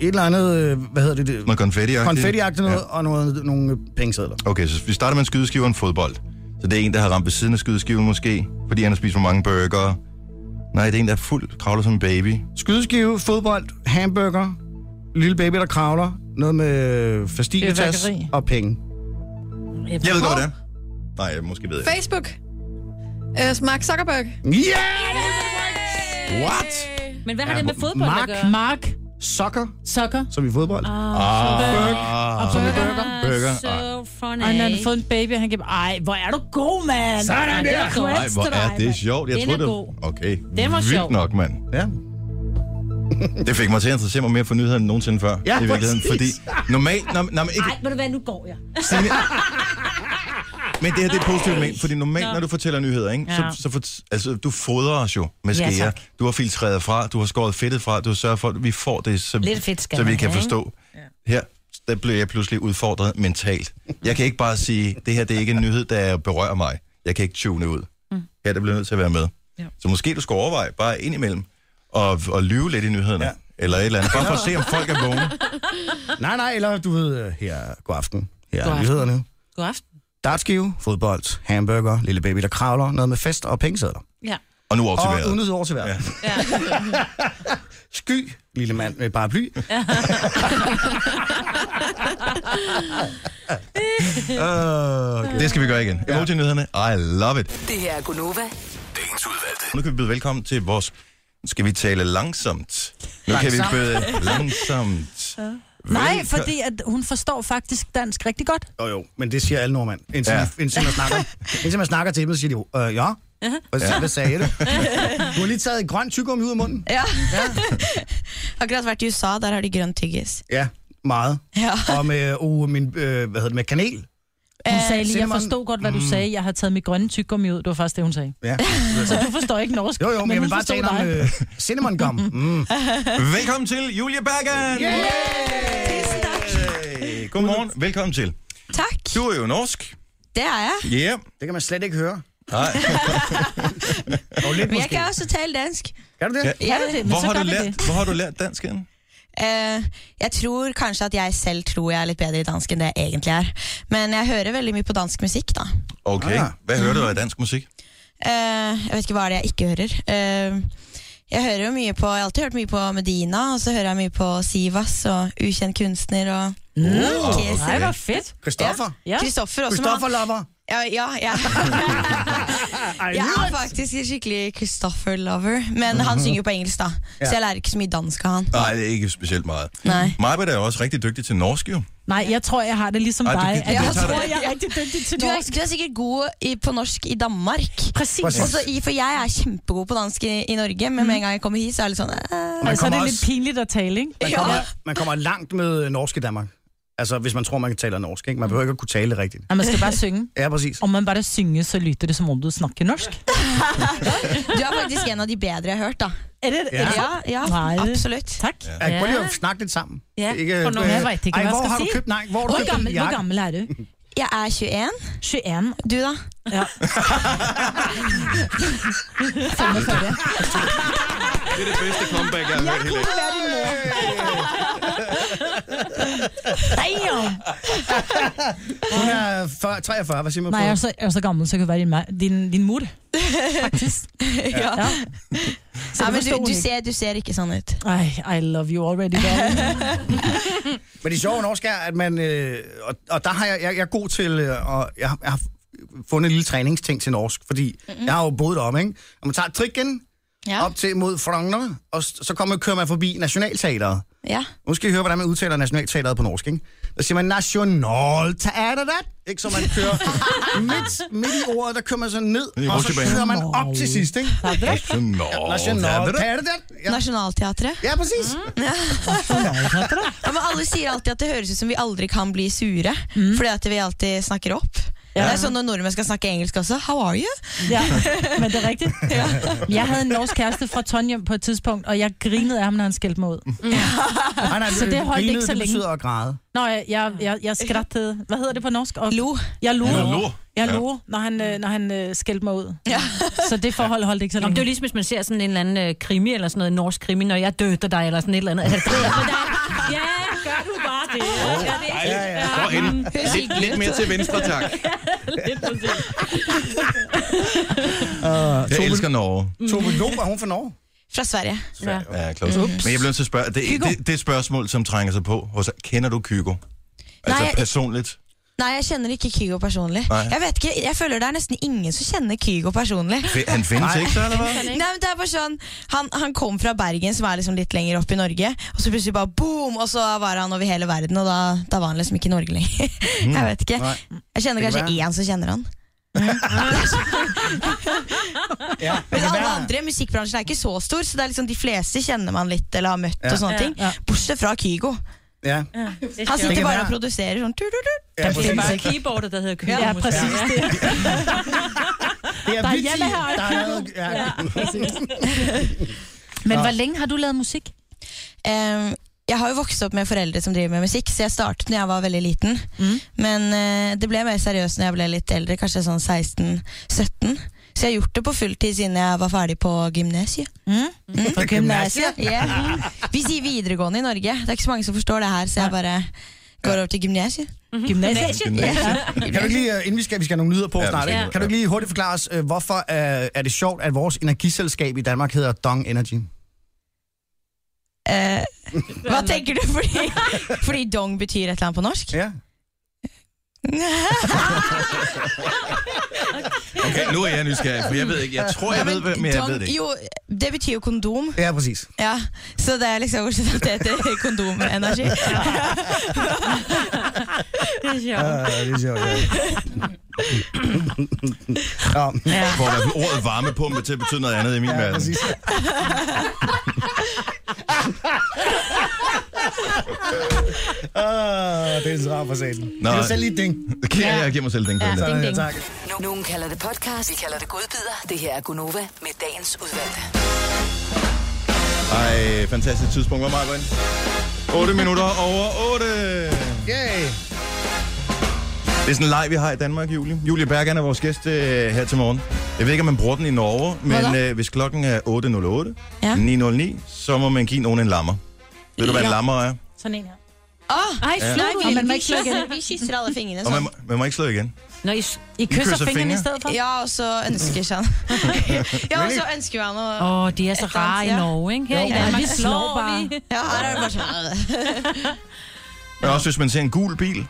et eller andet, øh, hvad hedder det, det
Noget konfetti -agtigt.
konfetti noget, ja. og noget, nogle pengesedler.
Okay, så vi starter med en skydeskive og en fodbold. Så det er en, der har ramt ved siden af skydeskiven måske, fordi han har spist for mange burger. Nej, det er en, der er fuld, kravler som en baby.
Skydeskive, fodbold, hamburger, lille baby, der kravler, noget med fastiletas
Fyrværkeri.
og penge.
Jeg ved godt, det er. Nej, måske ved jeg. ikke.
Facebook. Uh, Mark Zuckerberg.
Yeah!
What?
Men hvad har det med fodbold at
Mark.
gøre?
Mark
Soccer,
Sucker.
som i fodbold.
Ah,
Og burger.
burger.
So funny.
Og når han har fået en baby, og han kan... Ej, hvor er du god, mand!
Sådan
det er godt.
Nej, hvor er det sjovt. Jeg
Den
troede,
er
det
god.
Okay,
Den var
vildt
sjov.
nok, mand.
Ja.
Det fik mig til at interessere mig mere for nyheder end nogensinde før.
Ja,
i virkeligheden, fordi
præcis.
normalt... Når, når man ikke,
Ej, ved du hvad, nu går jeg.
Signe, men det her, det er positivt ment, fordi normalt, når du fortæller nyheder, ikke,
Ja.
så, så for, altså, du fodrer os jo med
Ja,
skære.
tak.
du har filtreret fra, du har skåret fedtet fra, du har sørget for, at vi får det, så,
Lidt fedt skal
så vi
man
kan
have, ikke?
forstå. Her, der blev jeg pludselig udfordret mentalt. Jeg kan ikke bare sige, det her det er ikke en nyhed, der berører mig. Jeg kan ikke tune ud.
Mm.
Her, der bliver jeg nødt til at være med. Så måske du skal overveje, bare indimellem, og, og lyve lidt i nyhederne.
Ja.
Eller et eller andet. Bare for at se, om folk er vågne.
Ah. Nej, nej, eller du ved, øh, her god aften. Her
God
er
aften.
nyhederne.
God aften.
Dartskive, fodbold, hamburger, lille baby, der kravler, noget med fest og pengesedler.
Ja.
Og nu
Og
optimeret.
uden over til vejret. Ja. Sky, lille mand med paraply.
Øh.
Ah,
Okay. Det skal vi gøre igen. Emoji-nyhederne, I love it.
Det her er Gunova.
Dagens udvalgte.
Nu kan vi byde velkommen til vores... Nu skal vi tale langsomt. Nu kan vi byde langsomt.
Nej, fordi at hun forstår faktisk dansk rigtig godt.
Jo jo, men det siger alle nordmænd. Indtil, ja.
Ja.
indtil, man, snakker, indtil man snakker til dem, så siger de jo, øh, ja. Hvad, ja. hvad sagde du? Du har lige taget et grønt tyggegummi ud af munden.
Ja. Akkurat vært i USA, der har de grønn tyggis.
Ja, meget.
Ja.
Og med, uh, min, øh, hvad hedder det, med kanel.
Hun sagde lige, jeg
Simon- Mm.
forstod godt, hvad du sagde. Jeg har taget mit grønne tyggegummi ud. Det var faktisk det, hun sagde.
Ja.
Du forstår ikke norsk,
Jo jo, men, men jeg
hun
vil bare
forstod
tale om
dig.
øh, cinnamon gum. Mm.
Velkommen til Julia Bergen! Yeah! Godmorgen, velkommen til.
Takk.
Du er jo norsk.
Det er jeg.
Ja. Yeah.
Ah. Det kan man slet ikke høre.
Nej.
Og lidt
Men jeg
måske.
kan også tale dansk.
Kan du det?
Ja.
Ja.
det, men
Hvor,
så
har
gør
du
vi
lært,
det.
hvor har du lært dansk henne?
Eh, jeg tror kanskje at jeg selv tror jeg er litt bedre i dansk enn det jeg egentlig er. Men jeg hører veldig mye på dansk musikk, da.
Okay.
Ah.
Hvad hører du af dansk musik?
Eh, jeg vet ikke hva er det jeg ikke hører. Eh, jeg hører jo mye på, jeg har alltid hørt mye på Medina, og så hører jeg mye på Sivas og Ukjent kunstner og
Mm.
Kesi.
Nej, hvor fedt.
Christoffer?
Ja.
Kristoffer også. men han-
Christoffer Lover?
Ja, ja, ja. Jeg er faktisk en skikkelig Christoffer-lover, men han synger jo på engelsk, da. Så jeg lærer ikke så mye dansk av han.
Nej, det er ikke specielt meget.
Nej.
Majbert er jo også rigtig dygtig til norsk, jo.
Nej, jeg tror, jeg har det ligesom
Ej, du-
dig.
du-
at
du-
Jeg
du-
tror, jeg er rigtig dygtig til
Du er,
norsk.
du er sikkert god i, på norsk i Danmark.
Præcis. Mhm.
Og så i, for jeg er kjempegod på dansk i, i Norge, men med en gang jeg kommer hit, så er jeg litt sånn eh,
Og så er
kommer
det lidt
også-
pinligt at tale, ikke?
Man
Ja.
kommer, man kommer langt med øh, norsk i Danmark. Altså, hvis man tror, man kan tale norsk, ikke? Man behøver ikke at kunne tale det rigtigt.
Nej, Mm. man skal bare synge.
Ja, præcis.
Om man bare synger, så lyder det som om du snakker norsk.
Du er faktisk en av de bedre jeg har hørt, da.
Er det,
Ja.
Ja, ja
Nei.
absolutt.
Tak.
Ja, prøv lige at snakke lidt sammen.
Ja,
Ikke,
for nu-
øh,
Jeg ved ikke,
ej,
hvad jeg
hvor
skal
har du
sige.
købt, nej, hvor har du
Hvor
købt
gammel,
den
hvor
jakke?
gammel er du?
Jeg er 21.
21.
Du, da?
Ja. 45.
Det er det bedste comeback, jeg har hørt hele dagen.
Damn!
Hun er 40, 43, hvad siger man
Nej, jeg er,
på?
så, jeg er så gammel, så jeg kan være din, ma- din, din mor. Faktisk.
ja.
Ja. Så
ja men
det
du,
forstod hun
du,
ikke.
ser, du ser ikke sånn ut.
Ej, I love you already, darling.
Men det sjove norsk er, at man... Øh, og, og der har jeg, jeg, jeg er god til... Øh, og jeg, har- jeg har fundet en lille træningsting til norsk, fordi mm-hmm. jeg har jo boet deroppe, ikke? Og man tager trikken
Ja.
ja. op til mod Frogner, og s- så kommer, kører man forbi Nationalteateret.
ja.
Nu skal I høre, hvordan man udtaler Nationalteateret på norsk, ikke? Der siger man Nationalteateret, ikke? Så man kører midt, midt i ordet, der kører man så ned,
I
og så
rutsjebanen.
kører man op til sidst, ikke?
Nationalteatret.
Nationalteateret. Ja,
Nationalteatret.
ja præcis.
Mm. Ja, men alle sier alltid at det høres ut som vi aldri kan bli sure,
Mm.
fordi at vi alltid snakker opp. Det er sånn når nordmenn skal snakke engelsk også. How are you?
Ja, men det er rigtigt. Ja. Jeg havde en norsk kæreste fra Tonjem på et tidspunkt, og jeg grinede af ham, når han skældte mig ud.
Nej, nej,
Så det holdt
grinet,
ikke så
det
længe.
betyder at græde.
Nå, jeg, jeg, jeg, jeg skrattede. Hvad hedder det på norsk? Og
Lo.
Jeg lo.
Nå, lo.
Jeg
Ja.
lo, når han, øh, når han øh, skældte mig ud. Ja. Så det forhold holdt ikke så
Nå, men
længe.
det er jo ligesom, hvis man ser sådan en eller anden øh, krimi, eller sådan noget norsk krimi, når jeg dødte dig, eller sådan et eller andet. Altså, det er, men der, er- ja, gør du bare det. Oh, ja, det
Ej, hvor hen. Lidt, lidt mere til venstre, tak.
Uh,
Jeg elsker Norge.
Tove Lo, var hun fra Norge?
Fra Sverige.
ja.
Ja, close. Men jeg bliver nødt til at spørge, det, det, det er et spørgsmål, som trænger sig på. hos- Kender du Kygo? Altså
Nej, jeg-
personligt?
Nei, jeg kjenner ikke Kygo personlig.
Nei.
Jeg vet ikke, jeg føler det er nesten ingen som kjenner Kygo personlig.
Fe- Han findes ikke, så eller hvad?
Nei, men det er bare sånn Han, han kom fra Bergen, som er liksom litt lenger opp i Norge. Og så plutselig bare boom, og så var han over hele verden, og da, da var han liksom ikke i Norge lenger.
Mm.
Jeg vet ikke.
Nei.
Jeg kjenner
Det kan
kanskje
være.
én som kjenner han.
Ja, det
Men
kan
alle
være.
andre musikkbransjen er ikke så stor, så det er liksom de fleste kjenner man litt eller har møtt. og sånne
Ja.
ting
Ja.
Bortsett fra Kygo.
Ja.
Han sitter
kan
bare
være.
og produserer sånn. Tu, tu, tu.
Ja,
Det er
præcis.
bare keyboardet, der hedder Køge.
Ja, præcis. Det.
Det
Der
er
er
vigtigt.
Jeppe her.
Der er noget... Ja.
Men hvor længe har du lavet musik?
Ehm, jeg har jo vokst opp med foreldre som driver med musikk, så jeg startet når jeg var veldig liten.
Mm.
Men eh, det ble mer seriøst når jeg ble litt eldre, kanskje sånn 16-17. Så jeg har gjort det på fulltid siden jeg var ferdig på gymnasiet.
Mm. På gymnasiet?
Yeah. Vi sier videregående i Norge. Det er ikke så mange som forstår det her, så jeg bare går over til gymnasiet.
Gymnasiet?
Kan du ikke lige, øh, inden vi skal, vi skal have nogle nyheder på
Ja,
ja,
vi
snart,
skal
ikke?
have-
kan du ikke lige hurtigt forklare os, øh, hvorfor øh, er det sjovt, at vores energiselskab i Danmark hedder Dong Energy?
Eh, hva tenker du? Fordi, fordi dong betyr et eller annet på norsk?
Ja.
Okay, nu er jeg nysgerrig, for jeg ved ikke. Jeg tror, jeg ved, hvad- men jeg ved det ikke.
Jo, det betyr jo kondom.
Ja, præcis.
Ja, så det er liksom hvordan det heter kondomenergi.
Ja, det er sjovt, ja. ja.
Hvor der er ordet varmepumpe til at betyde noget andet i min
Ja,
verden.
præcis. Ah, det er så rart for salen.
Nå.
Det er selv lige et ding.
Kan jeg, jeg giver mig selv den kæmpe.
Så,
Ja.
ja, tak.
Nu- Nogen kalder det podcast, vi kalder det godbider. Det her er Gunova med dagens udvalgte.
Ej, fantastisk tidspunkt. Hvor meget var det? 8 minutter over 8.
Yay.
Det er sådan en leg, vi har i Danmark, Julie. Julie Bergan er vores gæst øh, her til morgen. Jeg ved ikke, om man bruger den i Norge, men øh, hvis klokken er 8.08,
Ja.
9.09, så må man give nogen en lammer. Ved du, hvad en lammer er?
Sådan en her.
Åh,
Ej, slå
vi,
Og man må
vi,
ikke slå
kysser,
igen.
vi kysser alle fingrene
Og man,
sånn.
må- man må ikke slå igen.
Nå, I,
I kysser,
kysser
fingrene
fingre.
i stedet for?
Ja, og så ønsker jeg Ja, og så ønsker jeg noe
Åh, de er så
eller andet,
rare i
ja.
Norge, ikke? Her i
Ja,
Danmark
vi slår bare.
vi.
Ja, her er det bare sånn
Men også hvis man ser en gul bil,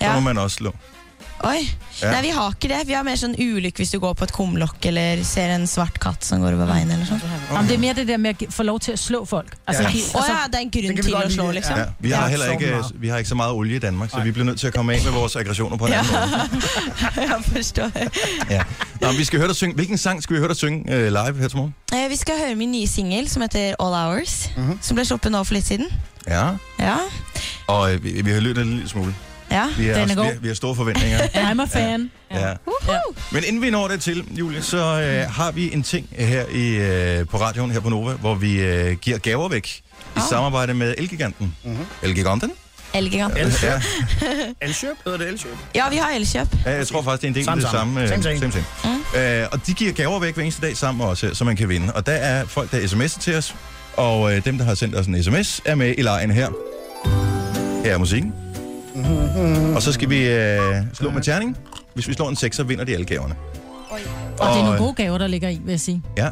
så
Ja.
må man også slå.
Oi.
Ja.
Nei, vi har ikke det. Vi har mer sånn ulykke hvis du går på et kumlokk eller ser en svart katt som går over veien eller sånn.
Jamen, det er mere det der med at gi- få lov til at slå folk. Altså,
Ja.
ja.
Å ja, det er en
Det
grunn
kan vi
til
godt
å slå,
lide,
liksom.
ja.
Ja, vi har
Ja,
heller
så
ikke, øh,
meget.
vi har ikke så meget olie i Danmark, så vi bliver nødt til at komme af med vores aggressioner på en anden måde.
Jeg forstår.
Ja. Nå, vi skal høre dig synge. Hvilken sang skal vi høre dig synge øh, live her til morgen?
Eh, Vi skal høre min nye singel som heter All Hours,
Mhm.
som ble sluppet nå for litt siden.
Ja,
Ja,
og øh, vi, vi har lyttet en lille smule.
ja.
Vi
Den er
har, vi,
god.
har, vi har store forventninger.
I'm a fan.
Ja. Men inden vi når det til, Julie, så øh, har vi en ting her i, øh, på radioen her på Nova, hvor vi øh, giver gaver væk i samarbejde med Elgiganten. Mm-hmm. Elgiganten?
Elgiganten.
Elkjøb?
Elkjøb? Hedder det Elkjøb?
Ja, vi har Elkjøb.
Ja, jeg tror faktisk, det er en del af
Samme,
det
samme.
samme. øh,
Same, same.
same,
Mm.
same. Øh, og de giver gaver væk hver eneste dag sammen også, så man kan vinde. Og der er folk, der sms'er til os, og øh, dem, der har sendt os en sms, er med i lejen her. Her er musikken.
Mm-hmm.
Og så skal vi øh, slå med terning. Hvis vi slår en 6, så vinder de alle gaverne.
Og det er nogle
øh,
gode gaver, der ligger i, vil jeg sige.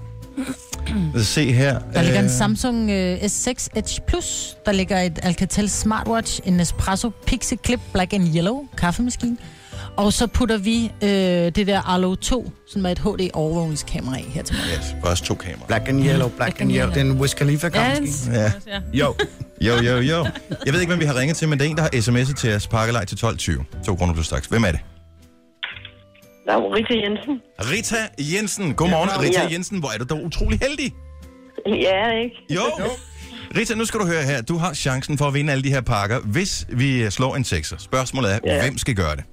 Ja. Lad os se her.
Der ligger en
Øh,
Samsung øh, S6 Edge Plus, der ligger et Alcatel Smartwatch, en Nespresso Pixie Clip Black and Yellow kaffemaskine, og så putter vi øh, det der Arlo 2, som er et HD-overvågningskamera i her til mig.
Yes, først to kameraer.
Black and yellow, black and yellow. Det er en Wiz Khalifa kamp.
Ja.
ja.
Jo.
Jo, jo, jo. Jeg ved ikke, hvem vi har ringet til, men det er en, der har sms'et til os. Pakkelej til 12.20. To kroner plus straks. Hvem er det?
Laurita Jensen.
Rita Jensen. Godmorgen,
Ja.
Rita
Ja.
Jensen. Hvor er du dog utrolig heldig.
Ja, ikke?
Jo. Rita, nu skal du høre her. Du har chancen for at vinde alle de her pakker, hvis vi øh, slår en sekser. Spørgsmålet er, ja.
Ja.
hvem skal gøre det?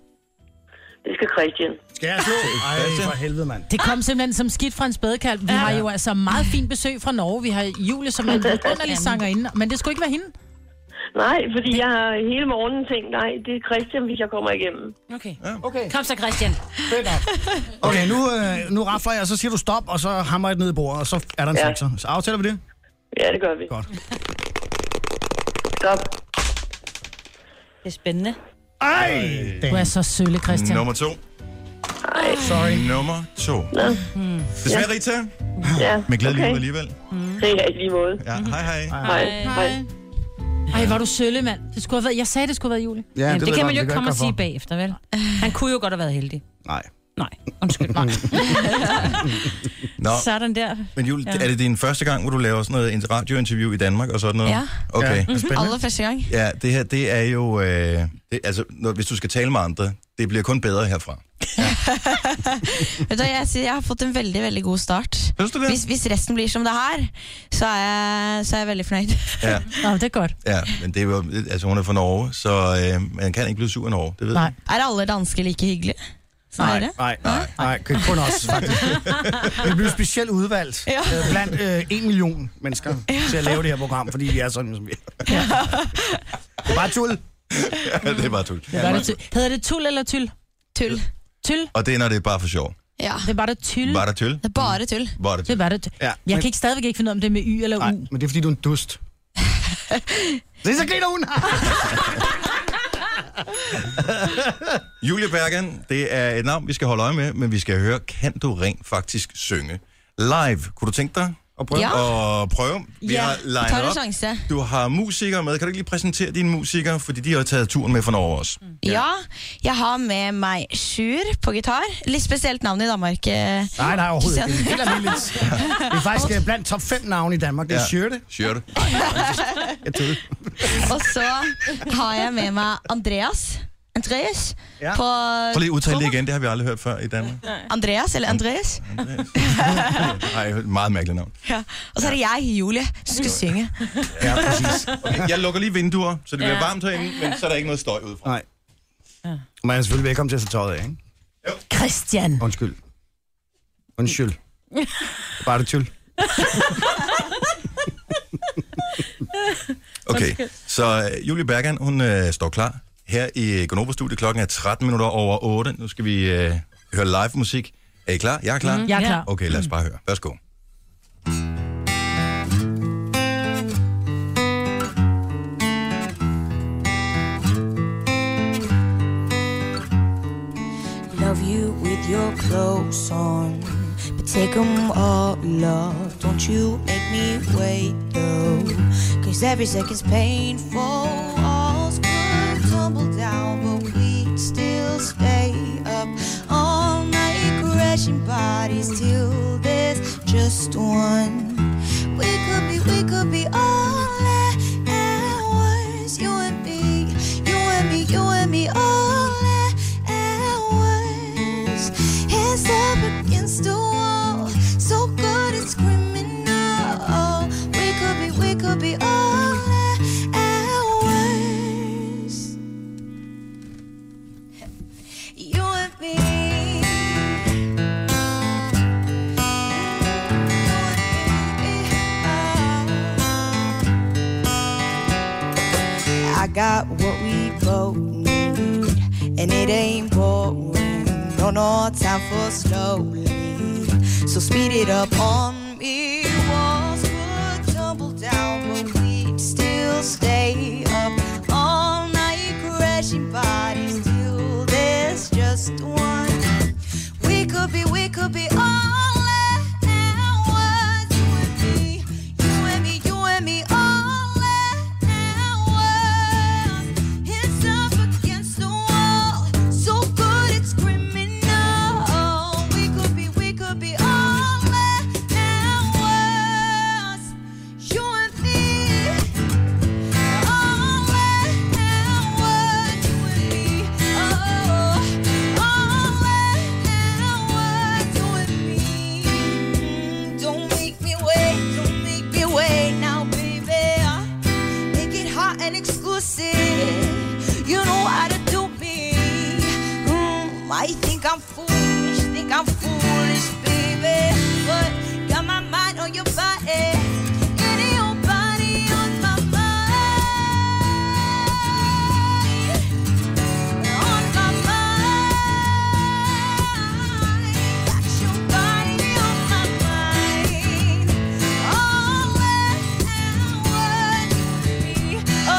Det skal Christian.
Skal jeg slå? Ej, for helvede, mand.
Det kom simpelthen som skidt fra en spædekalv. Vi har jo altså meget fint besøg fra Norge. Vi har Julie, som er en underlig sangerinde, men det skulle ikke være hende.
Nej, fordi jeg har hele morgenen tænkt, nej, det er Christian, hvis jeg kommer igennem.
Okay.
Okay,
Kom så, Christian.
okay nu, øh, nu rafler jeg, og så siger du stop, og så hammer jeg det ned i bordet, og så er der en
Ja.
sekser. Så aftaler vi det?
Ja, det gør vi.
Godt.
Stop.
Det er spændende.
Ej!
Du er så sølle, Christian.
Nummer to.
Ej,
Sorry.
Nummer to. Desværre, Rita.
ja.
Men glædelig
okay.
jul alligevel.
Det er i lige måde.
Ja, hej hej.
Hej. Hej.
Hej. Ej, var du sølle, mand. Det skulle have været, jeg sagde, det skulle have været Julie.
Ja,
Ja, det,
ved jeg
det kan
godt,
man jo ikke
jeg
komme og
gøre
sige bagefter, vel? Han kunne jo godt have været heldig.
for. Nej.
Nej, undskyld. Nej.
Nå,
Sådan der.
men Jul, er det din første gang, hvor du laver sådan noget inter- radiointerview i Danmark og sådan noget?
Ja.
Okay.
Mm-hmm.
Ja, spændende.
Aller første gang.
Ja, det her, det er jo... Øh, det, altså, når, hvis du skal tale med andre, det bliver kun bedre herfra.
Vet du, hva, jeg, siger, jeg har fått en veldig, veldig god start.
Synes du det?
Hvis, hvis resten blir som det her, så er jeg, så er jeg veldig fornøyd.
Ja,
Nå, det er godt.
ja men det er jo... Altså, hun er fra Norge, så øh, man kan ikke blive sur af Norge, det ved
Nej.
jeg.
Er alle dansker like hyggelige? Som
Nej,
dere?
nej, nej, nej, kun os faktisk. Vi blev specielt udvalgt
Ja.
øh, blandt øh, en million mennesker til at lave det her program, fordi vi er sådan, som vi er. Det er bare tull.
Ja, det er bare tull.
Var det ty- Hedder det tul eller tyl?
Tull.
Tyl.
Og det er, når det er bare for sjov.
Ja.
Det var det tyl.
Var der tyl?
Det er bare tull.
Var der tyl?
Det var det.
Ja,
Ja,
men-
jeg kan ikke stadigvæk ikke finde ud af, om det er med Y eller U.
Nej, men det er fordi, du er en dust. Se, så griner hun.
Julia Bergen, det er et navn, vi skal holde øje med, men vi skal høre, kan du rent faktisk synge live? Kunne du tænke dig at prøve?
Ja.
At prøve? Vi
Ja,
har
vi
lined
tager en
op.
chance.
Du har musikere med. Kan du ikke lige præsentere dine musikere? Fordi de har taget turen med fra Norge også.
Ja, jeg har med meg Sjur på gitar. Litt spesielt navn i Danmark. eh,
Nej, nej, overhovedet ikke.
Christian.
Det er helt almindeligt. Det er faktisk øh, blandt top 5 navne i Danmark. Det er
Ja.
Sjørte.
Sjørte.
Jeg tull.
Og så har jeg med meg Andreas. Andreas
Ja.
på
Prøv lige at udtale det igen. Det har vi aldrig hørt før i Danmark.
Andreas, eller Andreas.
Mm. Nej, et meget mærkeligt navn.
Ja. Og så er det jeg, Julie, som skal synge.
Ja, præcis.
Okay, jeg lukker lige vinduer, så det bliver varmt herinde, men så er der ikke noget støj udefra.
Nej. Man er selvfølgelig velkommen til at tage tøjet af, ikke?
Christian.
Undskyld. Undskyld. Bare det tull.
Okay, så øh, Julie Bergan, hun øh, står klar her i Gonova Studio. Klokken er 13 minutter over 8. Nu skal vi øh, høre live musik. Er I klar? Jeg er klar. Mm.
Mhm. Jeg er klar.
Okay, lad os bare høre. Værsgo.
Love you with your clothes on, but take 'em all off. Don't you make me wait though, cause every second's painful. All's good tumble down, but we still stay up all night, crashing bodies till there's just one. We could be, we could be all that and was you and me, you and me, you and me, all that and was. Hands up against the wall, so good it's criminal. We could be, we could be all that and was. You and me. You and me, oh. got what we both need, and it ain't boring. No, no time for slowly. So speed it up on me. Walls would tumble down, but we'd still stay up all night, crashing bodies till there's just one. We could be, we could be all at once. You and me, you and me, you and me, all at once. It's up against the wall, so good it's criminal. We could be, we could be all at once. You and me, all at once. You and me, oh, all at once. You and me. Don't make me wait, don't make me wait now, baby make it hot and exclusive. You know how to do me. Mm, I think I'm foolish, think I'm foolish, baby. But got my mind on your body. and your body on my mind. On my mind. Got your body on my mind. All at once.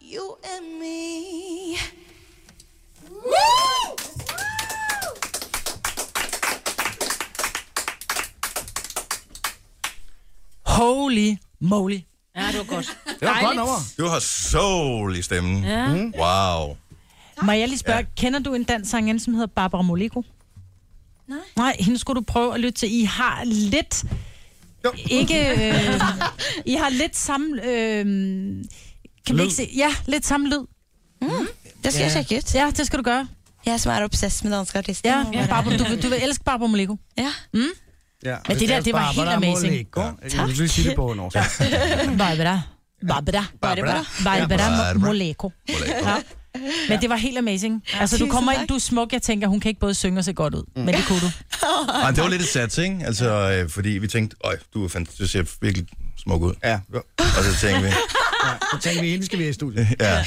You and me. Woo!
Holy moly.
Ja, det var godt.
Det var godt over. Du har soul i stemmen. Mhm.
Ja. Mm.
Wow.
Må jeg lige spørge, ja. kender du en dansk sangerinde, som hedder Barbara Moleko? Nej. Nej, hende skulle du prøve at lytte til. I har lidt... Jo. Ikke... Øh, I har lidt samme... Øh, kan vi
Lyd.
ikke se? Ja, lidt samme lyd. Mm.
Det skal jeg tjekke
ud. Ja, det skal du gøre.
Jeg som er obsessed med danske artister.
Ja, ja. Barbara, du, vil- du vil elske Barbara Moleko.
Ja.
Mm?
Ja,
Men det der, det var helt amazing.
Ja, jeg kan lige sige det på en årsag.
Barbara. Barbara.
Barbara.
Barbara
Ja.
Mo- Moleko. Ja. Men det var helt amazing.
Ja,
Altså, du
tusind
kommer ind,
tak.
du er smuk. Jeg tænker, hun kan ikke både synge og se godt ud. Men det kunne du.
Ej, det var lidt et sats, ikke? Altså, øh, fordi vi tænkte, øj, du er fantastisk, du ser virkelig smuk ud.
Ja.
Og så tænkte vi,
Ja, så tænker vi, hende skal vi have i studiet.
ja.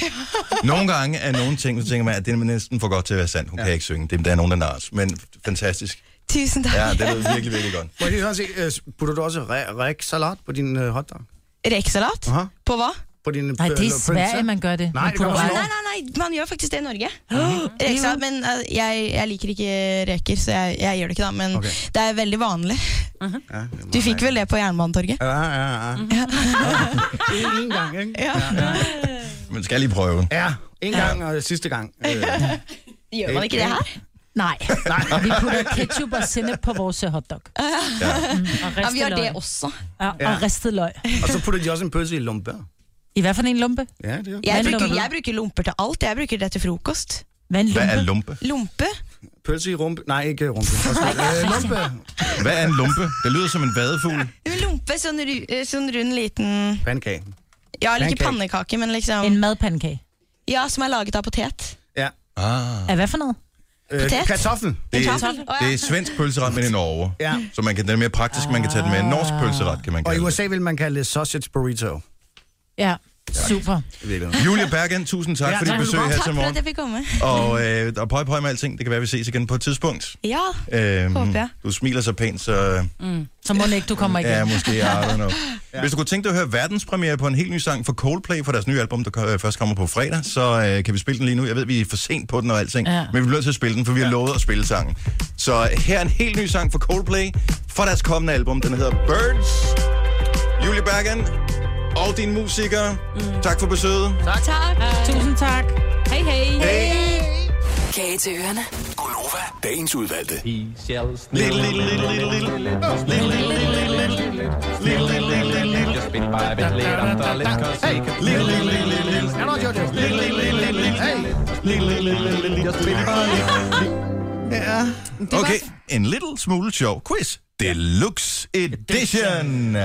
Nogle gange er nogle ting, så tænker man, at det er næsten for godt til at være sandt. Hun ja. kan ikke synge. Det er- der er nogen, der narres. Men fantastisk.
Tusind tak.
Ja, det lød virkelig, virkelig godt.
Må jeg lige høre, se, øh, putter du også ræ- ræksalat på din øh, hotdog?
Ræksalat?
Aha.
På hvad?
På din øh,
Nej, det er i
pølse?
Sverige, man gør det.
Nej,
Man
det
putter
kommer
Nej,
også
nei, nei, nei, man gjør faktisk det i Norge.
Mhm.
Reksa, men eh, jeg, jeg liker ikke reker, så jeg, jeg gjør det ikke da. Men
Ok.
det er veldig vanlig.
Uh-huh.
Ja,
Du fikk vel det på Jernbanetorget?
Ja, ja, ja. En, en gang, ikke?
Ja.
Men skal jeg lige prøve?
Ja, en gang og sidste gang. Øh,
Gjør man ikke det her?
Nej. Vi putter ketchup og sennep på vores øh, hotdog. Ja. Mm, og
Ja, vi
ristet
gjør det
løg.
også.
Ja, og ristet løg.
og så putter de også en pølse i lompe.
I hvert fald en lumpe.
Ja, det er
Jeg
Hvad er
bruker,
lumpe?
jeg bruker lomper til alt. Jeg bruker det til frokost.
Hvad er en
Hvad er
lumpe?
en lumpe?
Lompe?
Pølse i rumpe. Nej, ikke rumpe. Undskyld. Øh, lompe.
Hvad er en lumpe? Det lyder som en vadefugl.
Lompe, sånn, ru- eh, sånn rund liten
Pandekage.
Ja, eller ikke
Pancake.
pannekake, men liksom
En madpandekage.
Ja, som er laget av potet.
Ja.
Ah.
Er hvad for noget?
Øh,
Potet.
kartoffel.
Det er,
Kartoffel. Å,
det
ja.
er svensk pølseret, men i Norge.
Ja.
Så man kan, den er mere praktisk, man kan tage den med. En norsk pølseret, kan man
Og i
kalde det.
USA vil man kalde det sausage burrito.
Ja, super.
I virkeligheden.
Julia Bergen, tusind tak
Ja,
for dit
tak.
besøg
Godt.
her til
Takk for at
morgen.
jeg fikk komme.
Og, øh, og pøj, pøj med alting. Det kan være, vi ses igen på et tidspunkt.
Ja.
Øhm,
Håber jeg.
du smiler så pænt, så
Mm. Så må den ikke, du kommer igen.
ja, måske, I don't know. Hvis du kunne tænke dig at høre verdenspremiere på en helt ny sang fra Coldplay fra deres nye album, der øh, først kommer på fredag, så øh, kan vi spille den lige nu. Jeg ved, vi er for sent på den og alting,
Ja.
ja. men vi bliver nødt til at spille den, for vi har lovet at spille sangen. Så her er en helt ny sang fra Coldplay fra deres kommende album. Den hedder Birds. Julie Bergen og dine musikere. Mm. Tak for besøget.
Tusind tak.
Hej, hej.
Kage til ørerne.
Gunova, dagens udvalgte.
Little, little, little, little, little. Little, little, little, little, little. Little, little, little, little, little. Little, little, little, little, little. Little, little, little, little, little. Little, little, little, little, little.
Ja.
Okay, en little smule sjov quiz. Deluxe Edition.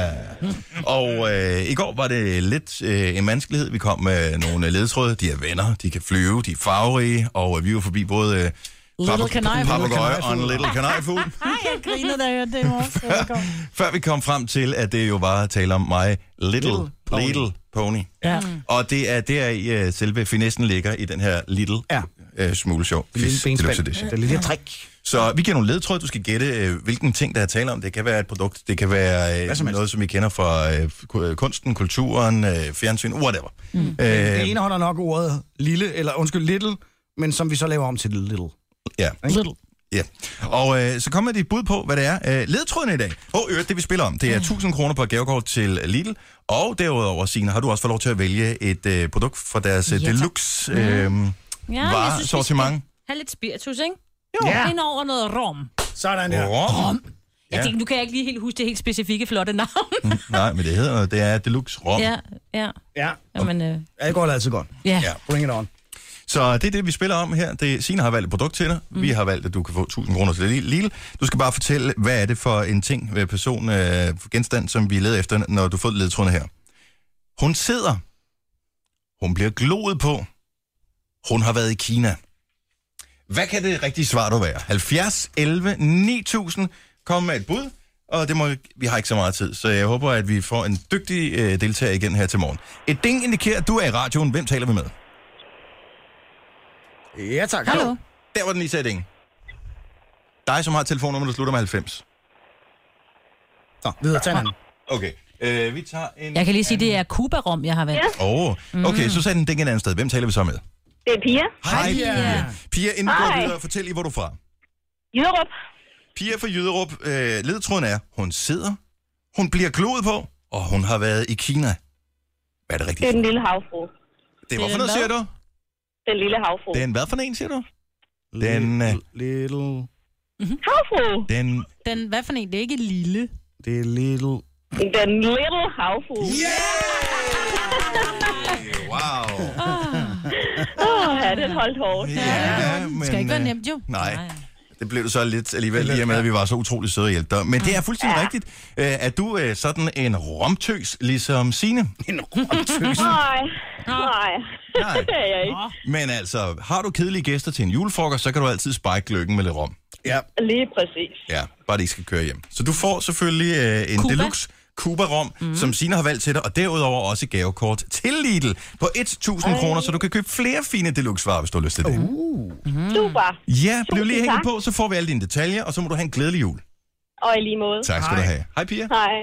Og øh, i går var det lidt øh, en vanskelighed. Vi kom med nogle øh, ledtråde. De er venner, de kan flyve, de er farverige, og øh, vi var forbi både øh,
Little Ah.
pap-
kanariefugl.
papegøje og en little kanariefugl.
Ej, jeg griner, da jeg hørte det i morges. Det var godt.
Før vi kom frem til, at det jo bare taler om mig, Little, little Pony. Little pony. Mm.
Ja.
Og det er der, i uh, selve finessen ligger i den her Little ja. uh, smule sjov.
Det lille
quiz,
benspænd.
Deluxe Edition.
Ja, det lille trick.
Så vi giver nogle ledtråd, du skal gætte, uh, hvilken ting, der er tale om. Det kan være et produkt, det kan være uh,
som
som
helst.
noget, som I kender fra uh, ku- kunsten, kulturen, uh, fjernsyn, whatever. Mm. Uh,
Det indeholder nok ordet lille, eller undskyld, little, men som vi så laver om til little.
ja.
Little.
Ja, og øh, så kommer dit bud på, hvad det er. Øh, ledtrådene i dag. Og øvrigt, det vi spiller om, det
Mm.
er 1000 kroner på et gavekort til Lidl. Og derudover, Signe, har du også fået lov til at vælge et øh, produkt fra deres ja,
Ja, tak.
deluxe øh,
Mm.
Ja,
ja,
jeg synes, vi
varesortiment.
skal have lidt spiritus, ikke?
Jo. Ja.
Ind over noget rom.
Sådan der.
Rom.
Jeg
Ja.
tænker, nu kan jeg ikke lige helt huske det helt specifikke flotte navn.
Nej, men det hedder det er deluxe rom.
ja, ja.
Ja.
Jamen, øh,
Alkohol er altid godt.
ja.
Ja.
Bring it on.
Så det er det, vi spiller om her. Det, Signe har valgt et produkt til dig. Mm. Vi har valgt, at du kan få 1000 kroner til Lille. Du skal bare fortælle, hvad er det for en ting, øh, person, øh, genstand, som vi leder efter, når du får ledtrådene her. Hun sidder. Hun bliver gloet på. Hun har været i Kina. Hvad kan det rigtige svar du være? 70, 11, 9000. Kom med et bud. Og det må, vi har ikke så meget tid, så jeg håber, at vi får en dygtig øh, deltager igen her til morgen. Et ding indikerer, at du er i radioen. Hvem taler vi med?
Ja, tak.
Hallo.
Der var den lige sætning. Dig, som har et telefonnummer, der slutter med 90.
Nå, videre. Tag en anden.
Okay. Øh, vi tager en...
Jeg kan lige sige, det er Cuba-rom, jeg har valgt.
Ja.
Åh, oh,
Mm.
okay, så sagde den ding et andet sted. Hvem taler vi så med?
Det er Pia.
Hej, Pia. Pia, inden vi går
Hej.
videre, fortæl lige, hvor du er fra.
Jyderup.
Pia fra Jyderup, øh, ledtråden er, hun sidder, hun bliver gloet på, og hun har været i Kina. Hvad er det
Det
rigtigt?
er den lille havfru.
Det var for noget, siger du?
Den lille havfru.
Den hvad for en, siger du? Den, øh,
Little.
Mm-hmm.
Havfru.
den...
Den, hvad for en? Det er ikke lille.
Det er little.
Den lille havfru.
Yeah! Wow.
Ah. Åh, ja, den holdt hårdt.
Ja, men...
Det skal ikke være
øh,
nemt, jo.
Nej. Det blev det så lidt alligevel, i og med, at vi var så utrolig søde og hjælpe dig. Men det er fuldstændig rigtigt. Øh, Er du øh, sådan en romtøs, ligesom Signe?
Nej, nej.
Nej.
Det er jeg ikke.
Men altså, har du kedelige gæster til en julefrokost, så kan du altid spike lykken med lidt rom.
Ja.
Lige præcis.
Ja, bare det ikke skal køre hjem. Så du får selvfølgelig øh, en
Cuba.
deluxe Cuba-rom, mm. som Signe har valgt til dig, og derudover også et gavekort til Lidl på 1.000 kroner, så du kan købe flere fine deluxe-varer, hvis du har lyst til det.
Mm-hmm.
Super.
Ja, bliv lige
Uh. Tusind
hængende
tak.
på, så får vi alle dine detaljer, og så må du have en glædelig jul.
Og i lige måde.
Tak skal du have. Hej, Pia.
Hej.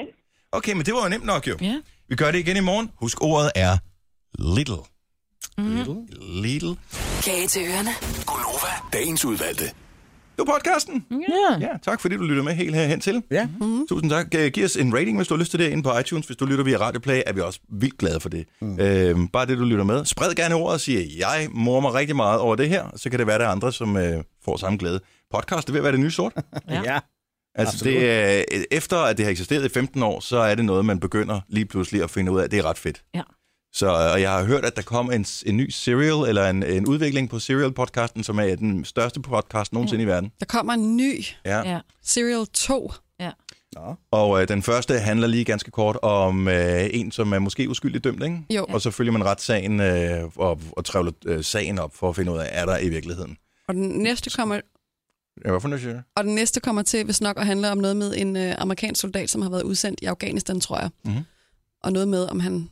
Okay, men det var jo nemt nok jo.
Ja.
Vi gør det igen i morgen. Husk, ordet er little.
Mm-hmm.
Little.
Little.
Kage til ørerne.
Gunova, dagens udvalgte.
Det var podcasten. Ja, tak fordi du lyttede med helt herhen til.
Ja.
Mm. Tusind tak. Øh, Giv os en rating, hvis du har lyst til det, inde på iTunes. Hvis du lytter via Radioplay, er vi også vildt glade for det. Mm. Øhm, bare det, du lytter med. Spred gerne ordet og sig, jeg mormer mig rigtig meget over det her. Så kan det være, der er andre, som øh, får samme glæde. Podcast, det vil være det nye sort.
Ja.
Altså,
Absolut.
det, er- øh, efter at det har eksisteret i 15 år, så er det noget, man begynder lige pludselig at finde ud af, at det er ret fedt.
Ja.
Så, øh, og jeg har hørt, at der kom en, s- en ny serial, eller en, en udvikling på Serial-podcasten, som er den største podcast nogensinde ja. i verden.
Der kommer en ny
Ja. ja.
Ja.
Serial 2.
Og øh, den første handler lige ganske kort om øh, en, som er måske uskyldigt dømt, ikke?
Jo.
Og så følger man retssagen øh, og, og trævler øh, sagen op for at finde ud af, er der i virkeligheden.
Og den næste kommer,
Ja, Hvad for noget, siger du?
og den næste kommer til, hvis nok, at handle om noget med en øh, amerikansk soldat, som har været udsendt i Afghanistan, tror jeg.
Mhm.
Og noget med, om han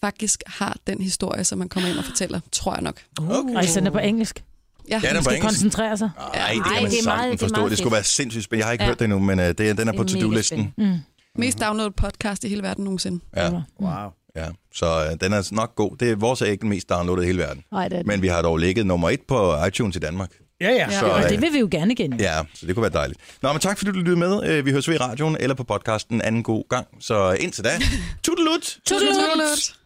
faktisk har den historie, som han kommer ind og fortæller, tror jeg nok.
Okay.
Ej, send det på engelsk.
Ja,
Ja, den var
Skal
engelsk.
koncentrere sig.
Ej, det
Ej,
kan man
det er meget- det
sagtens
er
forstå.
meget
Det skulle
fedt.
være sindssygt spændende. Jeg har ikke
Ja.
hørt det endnu, men øh, det, er- den er
Det
på
er mega
to-do-listen.
spændende.
Mm.
mest downloadet podcast i hele verden nogensinde.
Ja.
Mm.
Wow.
Ja, så øh, den er nok god. Det er vores er ikke den mest downloadede i hele verden.
Nej, det er det.
Men vi har dog ligget nummer et på iTunes i Danmark.
Ja, ja.
Ja.
Så,
Og
øh,
det vil vi jo gerne igen.
ja, så det kunne være dejligt. Nå, men tak fordi du lyttede med. Øh, Vi høres ved i radioen eller på podcasten anden god gang. Så indtil da, tudelut!
Tudelut!